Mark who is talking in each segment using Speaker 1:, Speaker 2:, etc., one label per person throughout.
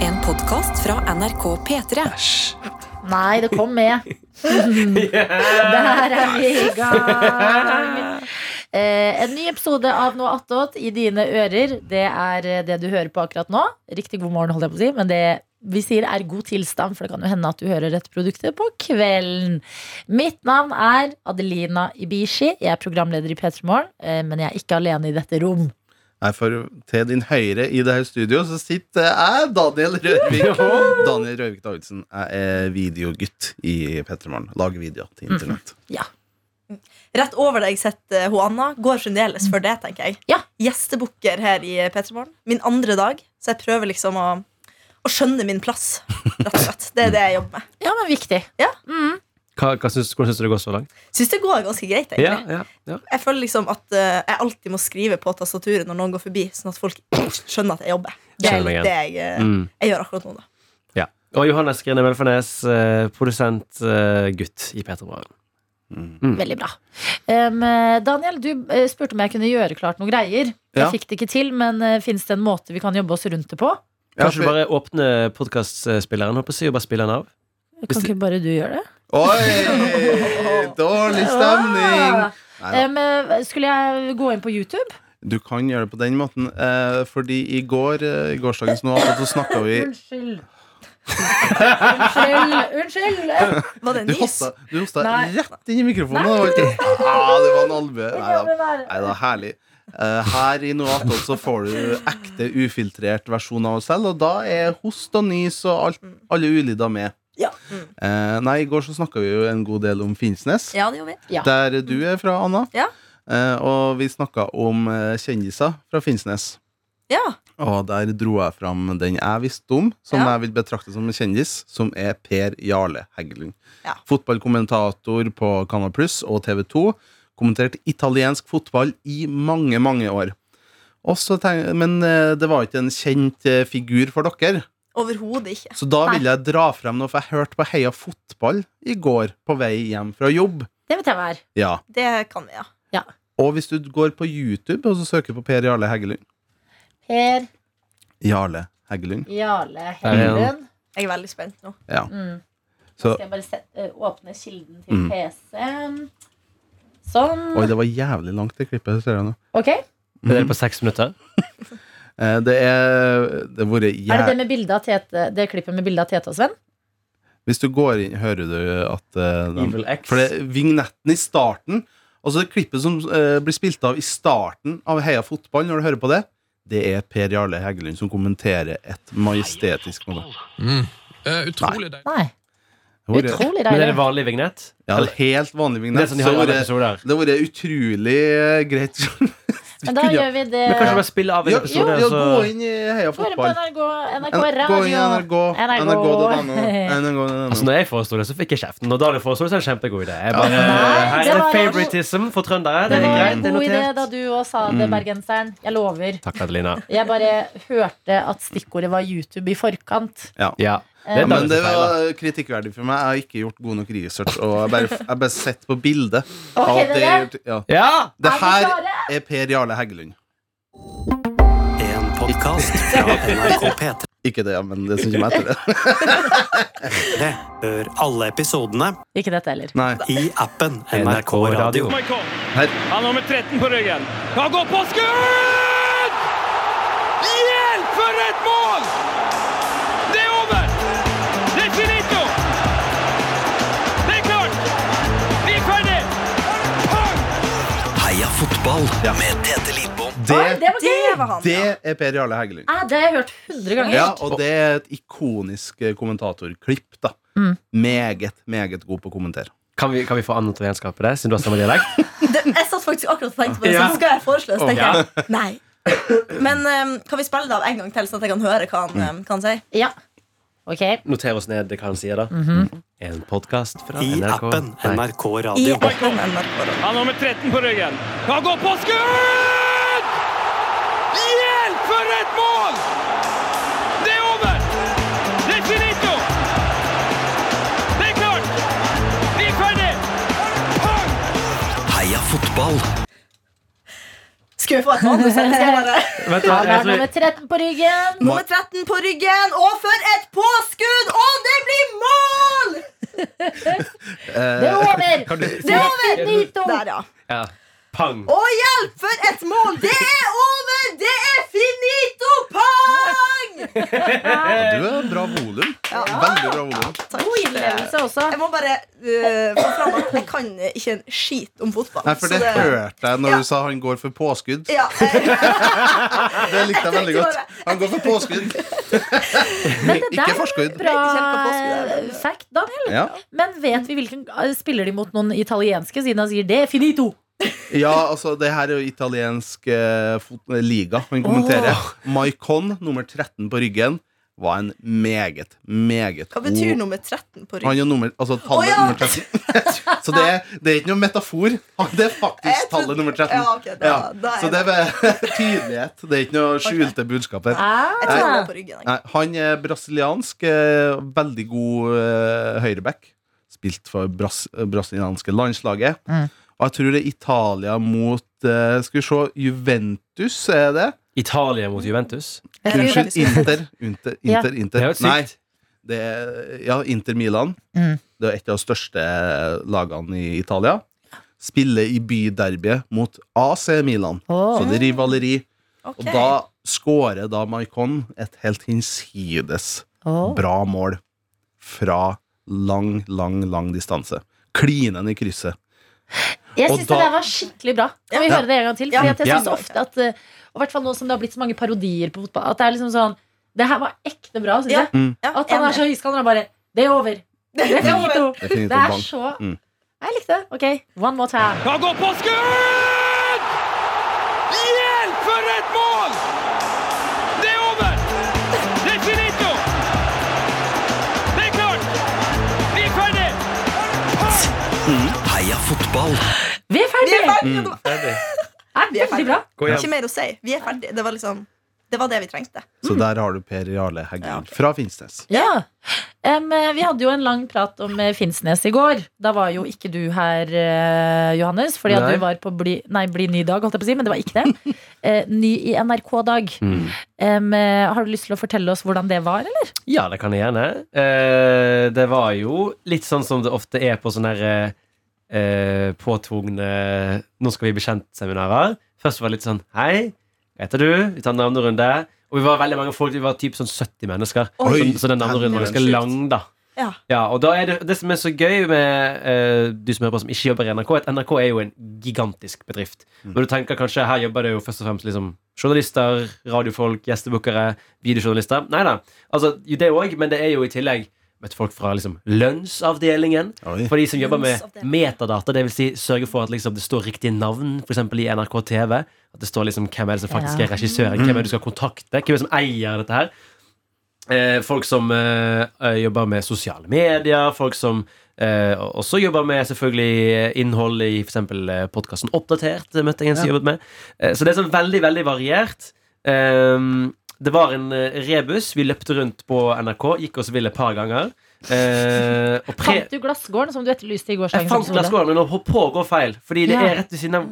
Speaker 1: En podkast fra NRK P3.
Speaker 2: Nei, det kom med. Der er vi i gang. Eh, en ny episode av Noe attåt i dine ører. Det er eh, det du hører på akkurat nå. Riktig god morgen, holdt jeg på å si. Men det vi sier er god tilstand, for det kan jo hende at du hører dette produktet på kvelden. Mitt navn er Adelina Ibishi. Jeg er programleder i P3 Morgen, eh, men jeg er ikke alene i dette rom.
Speaker 3: Nei, for til din høyre i det her studio så sitter jeg, Daniel Rørvik. Daniel Rørvik Davidsen. Jeg er videogutt i Pettermorgen. Lager videoer til internett.
Speaker 4: Rett over deg sitter eh, hun Anna. Går fremdeles for det, tenker jeg.
Speaker 2: Ja.
Speaker 4: Gjestebukker her i Petermorgen. Min andre dag, så jeg prøver liksom å, å skjønne min plass. Rett og slett. Det er det jeg jobber med.
Speaker 2: Ja, men viktig.
Speaker 4: Ja.
Speaker 2: Mm.
Speaker 5: Hva, hva syns, hvordan syns du det går så langt?
Speaker 4: Syns det går ganske greit,
Speaker 5: Ja,
Speaker 4: egentlig.
Speaker 5: ja, ja.
Speaker 4: Jeg føler liksom at eh, jeg alltid må skrive på tastaturet når noen går forbi, sånn at folk skjønner at jeg jobber. Det er
Speaker 5: Skjønner
Speaker 4: litt
Speaker 5: igjen.
Speaker 4: det jeg, eh,
Speaker 5: Mm.
Speaker 4: jeg gjør akkurat nå, da.
Speaker 5: ja. Og Johannes Grine Velfarnes, eh, produsent, eh, gutt i P3 Morgen.
Speaker 3: Mm.
Speaker 2: Veldig bra. Um, eh, Daniel, du eh, spurte om jeg kunne gjøre klart noen greier. Jeg
Speaker 3: Ja.
Speaker 2: fikk det ikke til, men uh, fins det en måte vi kan jobbe oss rundt det på?
Speaker 3: Ja,
Speaker 5: Kanskje du bare åpner podkastspilleren og bare spiller den av?
Speaker 2: Kan
Speaker 5: Hvis
Speaker 2: ikke bare du gjøre det?
Speaker 3: Oi! Dårlig stemning! Neida.
Speaker 2: Um, eh, skulle jeg gå inn på YouTube?
Speaker 3: Du kan gjøre det på den måten, eh, fordi i går, eh, i gårsdagens nå, så snakka vi
Speaker 2: Unnskyld. Unnskyld. Unnskyld.
Speaker 4: Var
Speaker 3: Du
Speaker 4: det en nys?
Speaker 3: hosta, du hosta
Speaker 2: Nei.
Speaker 3: rett inn i mikrofonen. og det var ikke- Ah, det var en albue. Neida. Nei da, herlig. Eh, her i noe annet så får du ekte, ufiltrert versjon av oss selv, og da er host og nys og alt, alle ulyder med.
Speaker 2: Ja.
Speaker 3: Eh, nei, i går så snakka vi jo en god del om Finnsnes,
Speaker 4: Ja, det gjorde vi.
Speaker 2: Ja.
Speaker 3: der du er fra, Anna.
Speaker 4: Ja.
Speaker 3: Eh, og vi snakka om eh, kjendiser fra Finnsnes.
Speaker 4: Ja.
Speaker 3: Og der dro jeg fram den jeg visste om, som
Speaker 4: Ja.
Speaker 3: jeg vil betrakte som en kjendis, som er Per Jarle Heggelund.
Speaker 4: Ja.
Speaker 3: Fotballkommentator på Canal Pluss og TV 2. Kommenterte italiensk fotball i mange, mange år. Og så tenk, men eh, det var ikke en kjent eh, figur for dere.
Speaker 4: Overhodet ikke.
Speaker 3: Så da
Speaker 2: Nei.
Speaker 3: ville jeg dra frem noe, for jeg hørte på Heia Fotball i går på vei hjem fra jobb.
Speaker 2: Det vet jeg hva er.
Speaker 3: Ja.
Speaker 4: Det kan vi, ja.
Speaker 3: Og hvis du går på YouTube og så søker på Per Jarle Heggelund
Speaker 2: Per
Speaker 3: Jarle Heggelund.
Speaker 2: Jarle
Speaker 5: er han.
Speaker 2: Heggelund.
Speaker 4: Jeg er veldig spent nå.
Speaker 3: Ja.
Speaker 2: Mm.
Speaker 3: Så,
Speaker 2: Skal jeg bare set- eh, åpne kilden til
Speaker 3: Mm.
Speaker 2: PC-en. Sånn.
Speaker 3: oi, det var jævlig langt, det klippet. Ser jeg nå.
Speaker 2: Ok.
Speaker 5: Det
Speaker 3: Mhm.
Speaker 5: er på seks minutter.
Speaker 3: Eh, Det er Det har vært
Speaker 2: Er det det
Speaker 3: jæv...
Speaker 2: med bildet av Tete Det klippet med bildet av Tete og Sven?
Speaker 3: Hvis du går inn, hører du at eh, den,
Speaker 5: Evil X.
Speaker 3: For det er vignetten i starten Altså det klippet som eh, blir spilt av i starten av Heia fotball, når du hører på det, det er Per Jarle Heggelund som kommenterer et majestetisk moment.
Speaker 6: Eh, utrolig deilig.
Speaker 2: Nei.
Speaker 3: Det har vært-
Speaker 2: Utrolig
Speaker 5: Men er det
Speaker 2: deilig.
Speaker 5: vanlig vignett?
Speaker 3: Ja, det er helt vanlig
Speaker 5: Det er
Speaker 3: vignett.
Speaker 5: sånn de
Speaker 3: så
Speaker 5: har i alle
Speaker 3: det har vært-
Speaker 5: episoder.
Speaker 3: det har vært utrolig eh, greit. Vi
Speaker 2: Men da
Speaker 3: kunne-
Speaker 2: gjør vi det.
Speaker 5: Men kanskje bare spille av en
Speaker 3: ja, ja,
Speaker 5: episode,
Speaker 3: ja,
Speaker 5: så
Speaker 3: gå inn i
Speaker 2: Gå
Speaker 3: Heia
Speaker 2: på
Speaker 3: fotball.
Speaker 2: NRK, NRK
Speaker 3: Gå inn i
Speaker 2: Radio.
Speaker 3: NRK.
Speaker 2: NRK.
Speaker 3: NRK.no. NRK.no.
Speaker 5: Altså, når jeg foreslo det, så fikk jeg kjeften. Når Daniel foreslo det, så er det en kjempegod idé. Jeg bare,
Speaker 2: Nei,
Speaker 5: her
Speaker 2: det
Speaker 5: er det
Speaker 2: var-
Speaker 5: favoritism for trøndere. Det
Speaker 2: Det
Speaker 5: er
Speaker 3: Mm.
Speaker 2: var
Speaker 5: greit,
Speaker 2: en
Speaker 5: det er
Speaker 2: god idé da
Speaker 5: notert.
Speaker 2: du òg sa
Speaker 5: Mm.
Speaker 2: det, bergenseren. Jeg lover.
Speaker 5: Takk, Adelina.
Speaker 2: Jeg bare hørte at stikkordet var YouTube i forkant.
Speaker 5: Ja. Det
Speaker 2: Eh,
Speaker 5: er
Speaker 3: Ja, men
Speaker 5: Daniel
Speaker 3: det
Speaker 5: som feiler.
Speaker 3: var kritikkverdig for meg. Jeg har ikke gjort god nok research. Og jeg bare, jeg bare sett på bildet.
Speaker 2: Ok,
Speaker 3: av at det,
Speaker 2: dere.
Speaker 3: er gjort- ja.
Speaker 5: Ja!
Speaker 3: det
Speaker 2: Er vi
Speaker 3: her
Speaker 2: klare?
Speaker 3: er Per Jarle Heggelund.
Speaker 7: En podkast fra NRK P3.
Speaker 3: Ikke det, men det som kommer etter det.
Speaker 7: Hør alle episodene
Speaker 2: Ikke dette heller.
Speaker 3: Nei,
Speaker 7: i appen NRK Radio.
Speaker 3: her.
Speaker 8: Han har med 13 på ryggen. Han går på skudd! Hjelp for et mål! Det er over! Det er finito! Det er klart! Vi er ferdig! Pang!
Speaker 7: Heia fotball med Tete Lidbom.
Speaker 2: Oi,
Speaker 3: Det,
Speaker 2: det var gøy!
Speaker 4: Det var han.
Speaker 3: det er Per Jarle Heggelund.
Speaker 2: Ah, det har jeg hørt 100 ganger.
Speaker 3: Ja, og det er et ikonisk eh, kommentatorklipp. da
Speaker 2: Mm.
Speaker 3: Meget, meget god på å kommentere.
Speaker 5: Kan vi, kan vi få annet italienskap på det, siden du har samme dialekt?
Speaker 4: Det, jeg satt faktisk akkurat og tenkte på det,
Speaker 5: Ja.
Speaker 4: så nå skal jeg foreslå det. Så
Speaker 5: Ja.
Speaker 4: tenkte jeg, nei. Men um, kan vi spille det av en gang til, sånn at jeg kan høre hva han, um, hva han sier?
Speaker 2: Ja. Ok.
Speaker 5: Noter oss ned hva han sier, da. En podkast fra
Speaker 7: I
Speaker 5: NRK.
Speaker 7: appen
Speaker 5: Nei.
Speaker 7: NRK
Speaker 4: I
Speaker 7: Radio.
Speaker 4: appen NRK.
Speaker 8: Han har med 13 på ryggen. Han går på skudd! Hjelp for et mål! Det er over! Det er finito! Det er klart! Vi er ferdig! Pang!
Speaker 7: Heia fotball
Speaker 4: skal vi få et manus? her? Vi skal
Speaker 5: Vet
Speaker 4: bare-
Speaker 5: du hva,
Speaker 2: Han
Speaker 5: jeg
Speaker 2: har
Speaker 5: tror-
Speaker 2: nummer 13 på ryggen.
Speaker 4: Nummer 13 på ryggen, og for et påskudd! Og det blir mål!
Speaker 2: Det er over!
Speaker 5: Kan du-
Speaker 2: Det er over! Nito!
Speaker 4: Der, ja.
Speaker 5: Ja. Pang.
Speaker 4: Og hjelp, for et mål! Det er over! Det er finito pang!
Speaker 3: Du er bra volum. Veldig bra volum.
Speaker 2: God innlevelse også.
Speaker 4: Jeg må bare øh, få fram at jeg kan ikke en skit om fotball.
Speaker 3: Nei, for det,
Speaker 4: så
Speaker 3: hørte jeg når
Speaker 4: Ja.
Speaker 3: du sa han går for påskudd.
Speaker 4: ja, jeg,
Speaker 3: Det likte jeg veldig
Speaker 4: tenkte
Speaker 3: godt.
Speaker 4: bare-
Speaker 3: Han går for påskudd,
Speaker 2: Men det
Speaker 3: ikke
Speaker 2: der var
Speaker 3: forskudd.
Speaker 2: bra
Speaker 4: Jeg kjemper på oss der,
Speaker 2: eh, fact, Daniel.
Speaker 3: Ja.
Speaker 2: Men vet vi hvilken Spiller de mot noen italienske, siden han sier 'det er finito'?
Speaker 3: ja, altså, det her er jo italiensk eh, fot- liga. Han kommenterer. Maicon, nummer 13 på ryggen, var en meget, meget
Speaker 4: hva betyr
Speaker 3: god
Speaker 4: nummer 13 på ryggen?
Speaker 3: Han er nummer, altså tallet
Speaker 4: Å, ja!
Speaker 3: nummer 13. Så det er, det er ikke noe metafor. Det er
Speaker 4: Jeg
Speaker 3: faktisk
Speaker 4: trodde-
Speaker 3: tallet nummer 13.
Speaker 4: Ja, ok, da-
Speaker 3: Ja,
Speaker 4: da er
Speaker 3: Så det er bare tydelighet. Det er ikke noe skjulte budskap her.
Speaker 4: Jeg tror han var på ryggen.
Speaker 3: Nei, han er brasiliansk, eh, veldig god eh, høyreback. Spilt for bras eh, brasilianske landslaget.
Speaker 2: Mm.
Speaker 3: Og jeg tror det er Italia mot eh, Skal vi se, Juventus er det?
Speaker 5: Italia mot Juventus.
Speaker 2: Jeg tror
Speaker 3: Unnskyld,
Speaker 2: faktisk-
Speaker 3: Inter. Inter,
Speaker 2: Ja.
Speaker 3: Inter,
Speaker 5: Det er
Speaker 3: Inter.
Speaker 5: jo sykt.
Speaker 3: Nei, det er, ja, Inter Milan.
Speaker 2: Mm.
Speaker 3: Det er et av de største eh, lagene i Italia. Spiller i byderbyet mot AC Milan.
Speaker 2: Åh.
Speaker 3: Så det er rivaleri.
Speaker 4: Ok.
Speaker 3: Og da skårer da Maicon et helt hinsides
Speaker 2: Åh.
Speaker 3: bra mål fra lang, lang, lang distanse. Klinen i krysset.
Speaker 2: Jeg
Speaker 3: Og
Speaker 2: syns
Speaker 3: da-
Speaker 2: det der var skikkelig bra. Kan vi
Speaker 3: Ja.
Speaker 2: høre det en gang til?
Speaker 4: Ja.
Speaker 2: Fordi at jeg
Speaker 5: Ja.
Speaker 2: synes ofte at eh, Og i hvert fall nå som det har blitt så mange parodier på fotball, at det er liksom sånn Det her var ekte bra, syns
Speaker 4: Ja.
Speaker 2: jeg.
Speaker 4: Ja,
Speaker 2: At han er
Speaker 4: enig.
Speaker 2: så høyskalla og bare Det er over. Det er finito.
Speaker 3: Det er,
Speaker 2: Det er
Speaker 3: bank.
Speaker 2: så
Speaker 3: Mm.
Speaker 2: Jeg likte det. Ok, one more time.
Speaker 8: Han går på skudd! Hjelp for et mål! Det er over! Det er finito! Det er klart! Vi er ferdig!
Speaker 7: Heia fotball.
Speaker 2: Vi er
Speaker 4: Vi er
Speaker 2: ferdige!
Speaker 3: Mm.
Speaker 4: ferdige! nå.
Speaker 2: Er
Speaker 4: Vi er
Speaker 2: veldig bra.
Speaker 5: Gå hjem.
Speaker 4: Ikke mer å si. Vi er ferdige. Det var liksom Det var det vi trengte.
Speaker 3: Så der har du Per Jarle Heggen fra Finnsnes.
Speaker 2: Ja. Em, eh, vi hadde jo en lang prat om eh, Finnsnes i går. Da var jo ikke du her, eh, Johannes. Fordi at
Speaker 5: Nei.
Speaker 2: du var på Bli, nei, bli ny dag, holdt jeg på å si. Men det var ikke det. Eh, ny i NRK-dag.
Speaker 5: Mm.
Speaker 2: eh, har du lyst til å fortelle oss hvordan det var, eller?
Speaker 5: Ja, det kan jeg gjerne. Eh, det var jo litt sånn som det ofte er på sånne her, eh, påtvungne 'nå skal vi bli kjent'-seminarer. Først var det litt sånn 'hei, hva heter du?' Vi tar en navnerunde. Og vi var veldig mange folk, vi var typ sånn 70 mennesker.
Speaker 3: Oi,
Speaker 5: så, så den navnerunden var ganske
Speaker 3: helvete.
Speaker 5: lang, da.
Speaker 4: Ja.
Speaker 5: og da er det, det som er så gøy med eh, du som hører på som ikke jobber i NRK, at NRK er jo en gigantisk bedrift. Når du tenker kanskje her jobber det jo først og fremst liksom, journalister, radiofolk, gjestebukkere, videojournalister. Nei da. Altså, jo det òg, men det er jo i tillegg vet, folk fra liksom, lønnsavdelingen.
Speaker 3: Oi.
Speaker 5: For de som jobber med
Speaker 4: Lønnsavdelingen.
Speaker 5: metadata, dvs. Si, sørge for at liksom, det står riktige navn, f.eks. i NRK TV. At det står liksom, hvem er det som faktisk
Speaker 2: Ja.
Speaker 5: er regissøren, hvem er det du skal kontakte, hvem er det som eier dette her. Eh, folk som eh, eh, jobber med sosiale medier, folk som eh, også jobber med selvfølgelig eh, innhold i f.eks. podkasten Oppdatert. det møtte jeg en som jobbet med. Eh, så det er sånn veldig, veldig variert. Ehm, det var en eh, rebus. Vi løpte rundt på NRK, gikk oss vill et par ganger. Eh, og pre
Speaker 2: Fant du glassgården som du etterlyste i gårsdagens
Speaker 5: jeg fant
Speaker 2: episode?
Speaker 5: glasskåren, men holdt på å gå feil. Fordi det
Speaker 2: Ja.
Speaker 5: er rett ved siden av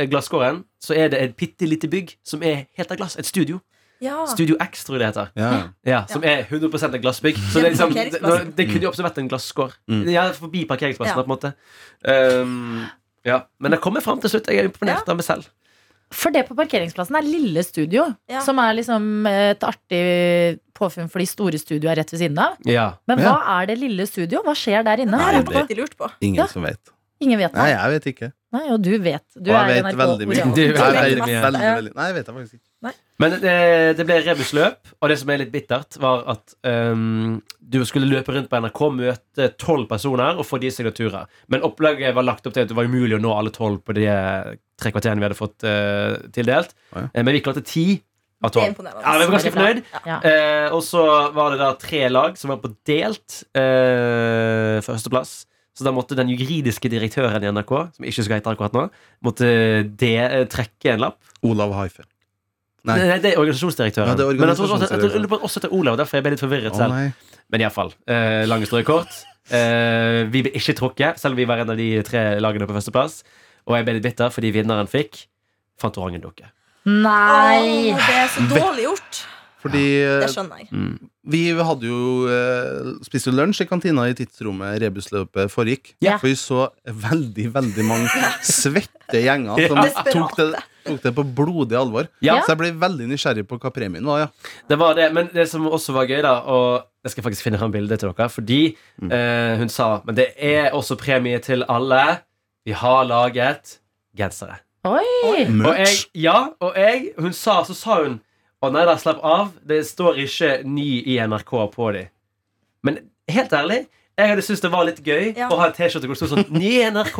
Speaker 5: eh, glasskåren så er det et bitte lite bygg som er helt av glass. Et studio.
Speaker 4: Ja.
Speaker 5: Studio X, tror jeg det heter.
Speaker 3: Ja.
Speaker 5: Ja, som er 100 et glassbygg. Så det,
Speaker 4: Ja,
Speaker 5: er liksom, det,
Speaker 4: parkeringsplassen.
Speaker 5: nå- det kunne jo også vært en glasskår.
Speaker 3: Mm.
Speaker 5: Ja, forbi parkeringsplassen,
Speaker 4: Ja.
Speaker 5: da, på en måte. Um, ja. Men jeg kommer fram til slutt. Jeg er imponert
Speaker 4: Ja.
Speaker 5: av meg selv.
Speaker 2: For det på parkeringsplassen er Lille Studio,
Speaker 4: Ja.
Speaker 2: som er liksom et artig påfunn for de store studioene rett ved siden av.
Speaker 5: Ja.
Speaker 2: Men hva
Speaker 3: Ja.
Speaker 2: er det Lille Studio? Hva skjer der inne?
Speaker 4: Det
Speaker 2: Har
Speaker 4: har
Speaker 2: jeg
Speaker 4: jeg
Speaker 2: lurt på.
Speaker 4: alltid lurt på.
Speaker 3: Ingen
Speaker 2: Ja.
Speaker 3: som vet.
Speaker 2: Ingen vet
Speaker 3: Nei,
Speaker 2: det.
Speaker 3: jeg vet ikke.
Speaker 2: Nei, og du vet. Du
Speaker 3: Og jeg
Speaker 2: er
Speaker 3: vet veldig mye.
Speaker 2: Orion.
Speaker 5: Du vet
Speaker 3: Nei,
Speaker 5: veldig
Speaker 3: jeg vet
Speaker 5: mye.
Speaker 3: veldig, veldig. Nei, jeg vet jeg faktisk ikke.
Speaker 5: Men det, det ble rebusløp, og det som er litt bittert, var at ehm, du skulle løpe rundt på NRK, møte tolv personer og få de signaturer. Men opplegget var lagt opp til at det var umulig å nå alle tolv på de eh, tre kvarterene vi hadde fått eh, tildelt.
Speaker 3: Å, ja.
Speaker 5: Eh, Men vi klarte ti av
Speaker 4: Det er
Speaker 5: tolv.
Speaker 4: imponerende.
Speaker 5: Ja, vi var ganske fornøyd.
Speaker 2: Ja.
Speaker 5: Eh, og så var det da tre lag som var på delt eh, førsteplass. Så da måtte den juridiske direktøren i NRK, som ikke skal hete akkurat nå, måtte de, eh, trekke en lapp.
Speaker 3: Olav Haife. Nei.
Speaker 5: Nei. det er organisasjonsdirektøren.
Speaker 3: Ja, det er
Speaker 5: Men jeg tror også- jeg tror- jeg
Speaker 3: organisasjonsdirektøren.
Speaker 5: lurer på at også heter Olav, derfor jeg ble litt forvirret
Speaker 3: Å,
Speaker 5: selv.
Speaker 3: nei.
Speaker 5: Men iallfall. Eh, lange strøk kort. Eh, vi ble ikke trukket, selv om vi var en av de tre lagene på førsteplass. Og jeg ble litt bitter fordi vinneren fikk fant orangendukke.
Speaker 2: Nei!
Speaker 4: Åh, det er så dårlig gjort.
Speaker 3: Fordi
Speaker 4: Det
Speaker 3: eh,
Speaker 4: skjønner jeg.
Speaker 3: vi hadde jo eh, spiste jo lunsj i kantina i tidsrommet rebusløpet foregikk.
Speaker 2: Ja.
Speaker 3: For vi så veldig, veldig mange svette gjenger som
Speaker 5: Ja.
Speaker 3: tok det, tok det på blodig alvor.
Speaker 5: Ja.
Speaker 3: Så jeg ble veldig nysgjerrig på hva premien var. ja
Speaker 5: Det var det, men det som også var gøy, da Og jeg skal faktisk finne fram bildet til dere, fordi
Speaker 3: Mm.
Speaker 5: eh, hun sa Men det er også premie til alle. Vi har laget gensere.
Speaker 2: Oi!
Speaker 5: Og jeg,
Speaker 3: Merch.
Speaker 5: ja, og jeg Hun sa, så sa hun Å nei da, slapp av. Det står ikke ny i NRK på de. Men helt ærlig, jeg hadde syntes det var litt gøy
Speaker 4: Ja.
Speaker 5: å ha en T-skjorte hvor det sto sånn Ny i NRK,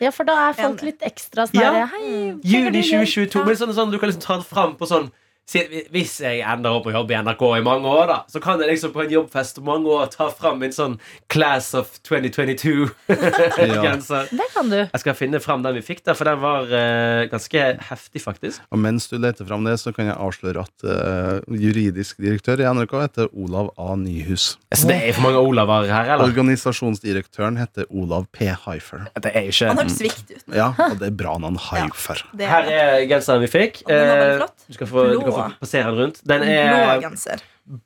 Speaker 2: Ja, for da er folk
Speaker 4: Enig.
Speaker 2: litt ekstra sånn her,
Speaker 5: Ja.
Speaker 2: Hei, trenger du
Speaker 5: juni
Speaker 2: hjelp?
Speaker 5: 2022. Men sånn, sånn, du kan liksom ta den fram på sånn si, Hvis jeg ender opp å jobbe i NRK i mange år, da, så kan jeg liksom på en jobbfest om mange år ta fram min sånn Class of 2022-genser.
Speaker 2: Det kan du.
Speaker 5: Jeg skal finne fram den vi fikk, da, for den var eh, ganske heftig, faktisk.
Speaker 3: Og mens du leter fram det, så kan jeg avsløre at eh, juridisk direktør i NRK heter Olav A. Nyhus.
Speaker 5: Så Altså, det er for mange Olaver her, eller?
Speaker 3: Organisasjonsdirektøren heter Olav P. Haifer.
Speaker 5: Det er jo ikke
Speaker 4: Han hørtes viktig ut.
Speaker 3: Ja, og det er bra navn Haifer.
Speaker 4: Det
Speaker 5: Her
Speaker 4: er
Speaker 5: er genseren vi fikk.
Speaker 4: Ja, den var veldig
Speaker 5: Eh,
Speaker 4: flott.
Speaker 5: Du skal få, du kan få
Speaker 4: Blå.
Speaker 5: passere den rundt. Den
Speaker 4: blå
Speaker 5: er
Speaker 4: genser.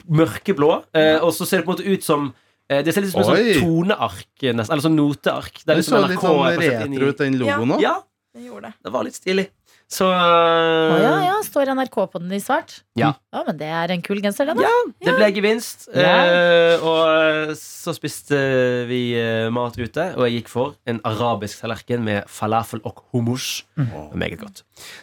Speaker 5: mørkeblå, eh, og så ser det på en måte ut som eh, Det ser litt ut som
Speaker 3: Oi.
Speaker 5: et sånn toneark, nesten. Eller sånn noteark. Det er
Speaker 3: Den
Speaker 5: litt som
Speaker 3: så litt
Speaker 5: NRK
Speaker 3: sånn
Speaker 5: er plassert inn i-
Speaker 3: retro ut, den logoen òg.
Speaker 5: Ja,
Speaker 4: Det gjorde det.
Speaker 5: det var litt stilig. Så
Speaker 2: Å,
Speaker 5: eh,
Speaker 2: ja, ja, står NRK på den i svart?
Speaker 5: Ja.
Speaker 2: ja men det er en kul genser, den, da.
Speaker 5: det ble gevinst. eh, og så spiste vi eh, mat ute, og jeg gikk for en arabisk tallerken med falafel og hummus. Meget godt.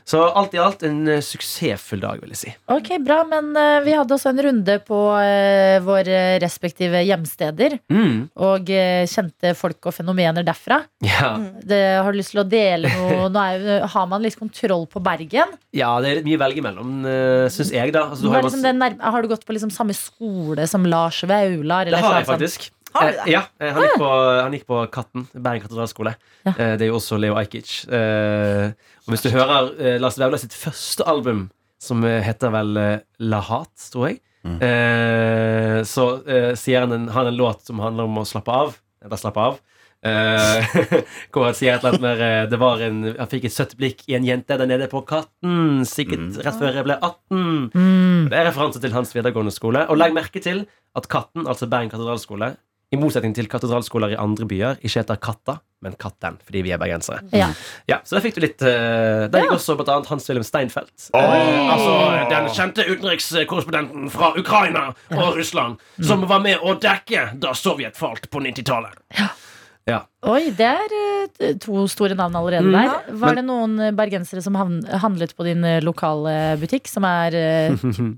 Speaker 5: Så alt i alt en eh, suksessfull dag, vil jeg si.
Speaker 2: Ok, bra, men eh, vi hadde også en runde på eh, våre respektive hjemsteder.
Speaker 5: Mm.
Speaker 2: Og eh, kjente folk og fenomener derfra.
Speaker 5: Ja.
Speaker 2: Det, har du lyst til å dele noe? Nå er, jo- eh, har man litt kontroll på Bergen.
Speaker 5: Ja, det er litt mye å velge mellom, syns jeg, da. Altså, du har,
Speaker 2: Hva
Speaker 5: jo
Speaker 2: er liksom
Speaker 5: masse-
Speaker 2: det nær- har du gått på liksom samme skole som Lars Vaular? eller
Speaker 5: det har jeg
Speaker 2: sånn?
Speaker 5: faktisk.
Speaker 4: Har du
Speaker 5: Eh,
Speaker 4: det?
Speaker 5: Ja, eh, han, gikk på, han gikk på Katten, Bergen katedralskole.
Speaker 2: Ah. Ja.
Speaker 5: Eh, Det er jo også Leo Ajkic. Eh, Og hvis du hører eh, Lars Vaular sitt første album, som eh, heter vel eh, La Hat, tror jeg, eh, så eh, sier han en, han en låt som handler om å slappe av. Eller slappe av. Eh, hvor han sier et eller annet mer eh, det var en, Han fikk et søtt blikk i en jente der nede på Katten, sikkert rett før jeg ble 18.
Speaker 2: Mm.
Speaker 5: Og Det er referanse til hans videregående skole. Og legg merke til at Katten, altså Bergen katedralskole, i motsetning til katedralskoler i andre byer, ikke heter Katta, men Katten, fordi vi er bergensere. Mm.
Speaker 2: Ja.
Speaker 5: Ja, så der fikk du litt uh, Der gikk også blant annet Hans-Wilhelm Steinfeld. Eh, altså den kjente utenrikskorrespondenten fra Ukraina og Russland, som var med å dekke da Sovjet falt på 90-tallet.
Speaker 2: Oi, det er eh, to store navn allerede
Speaker 5: Mm.
Speaker 2: der. Var det noen eh, bergensere som havn- handlet på din eh, lokale butikk, som er eh,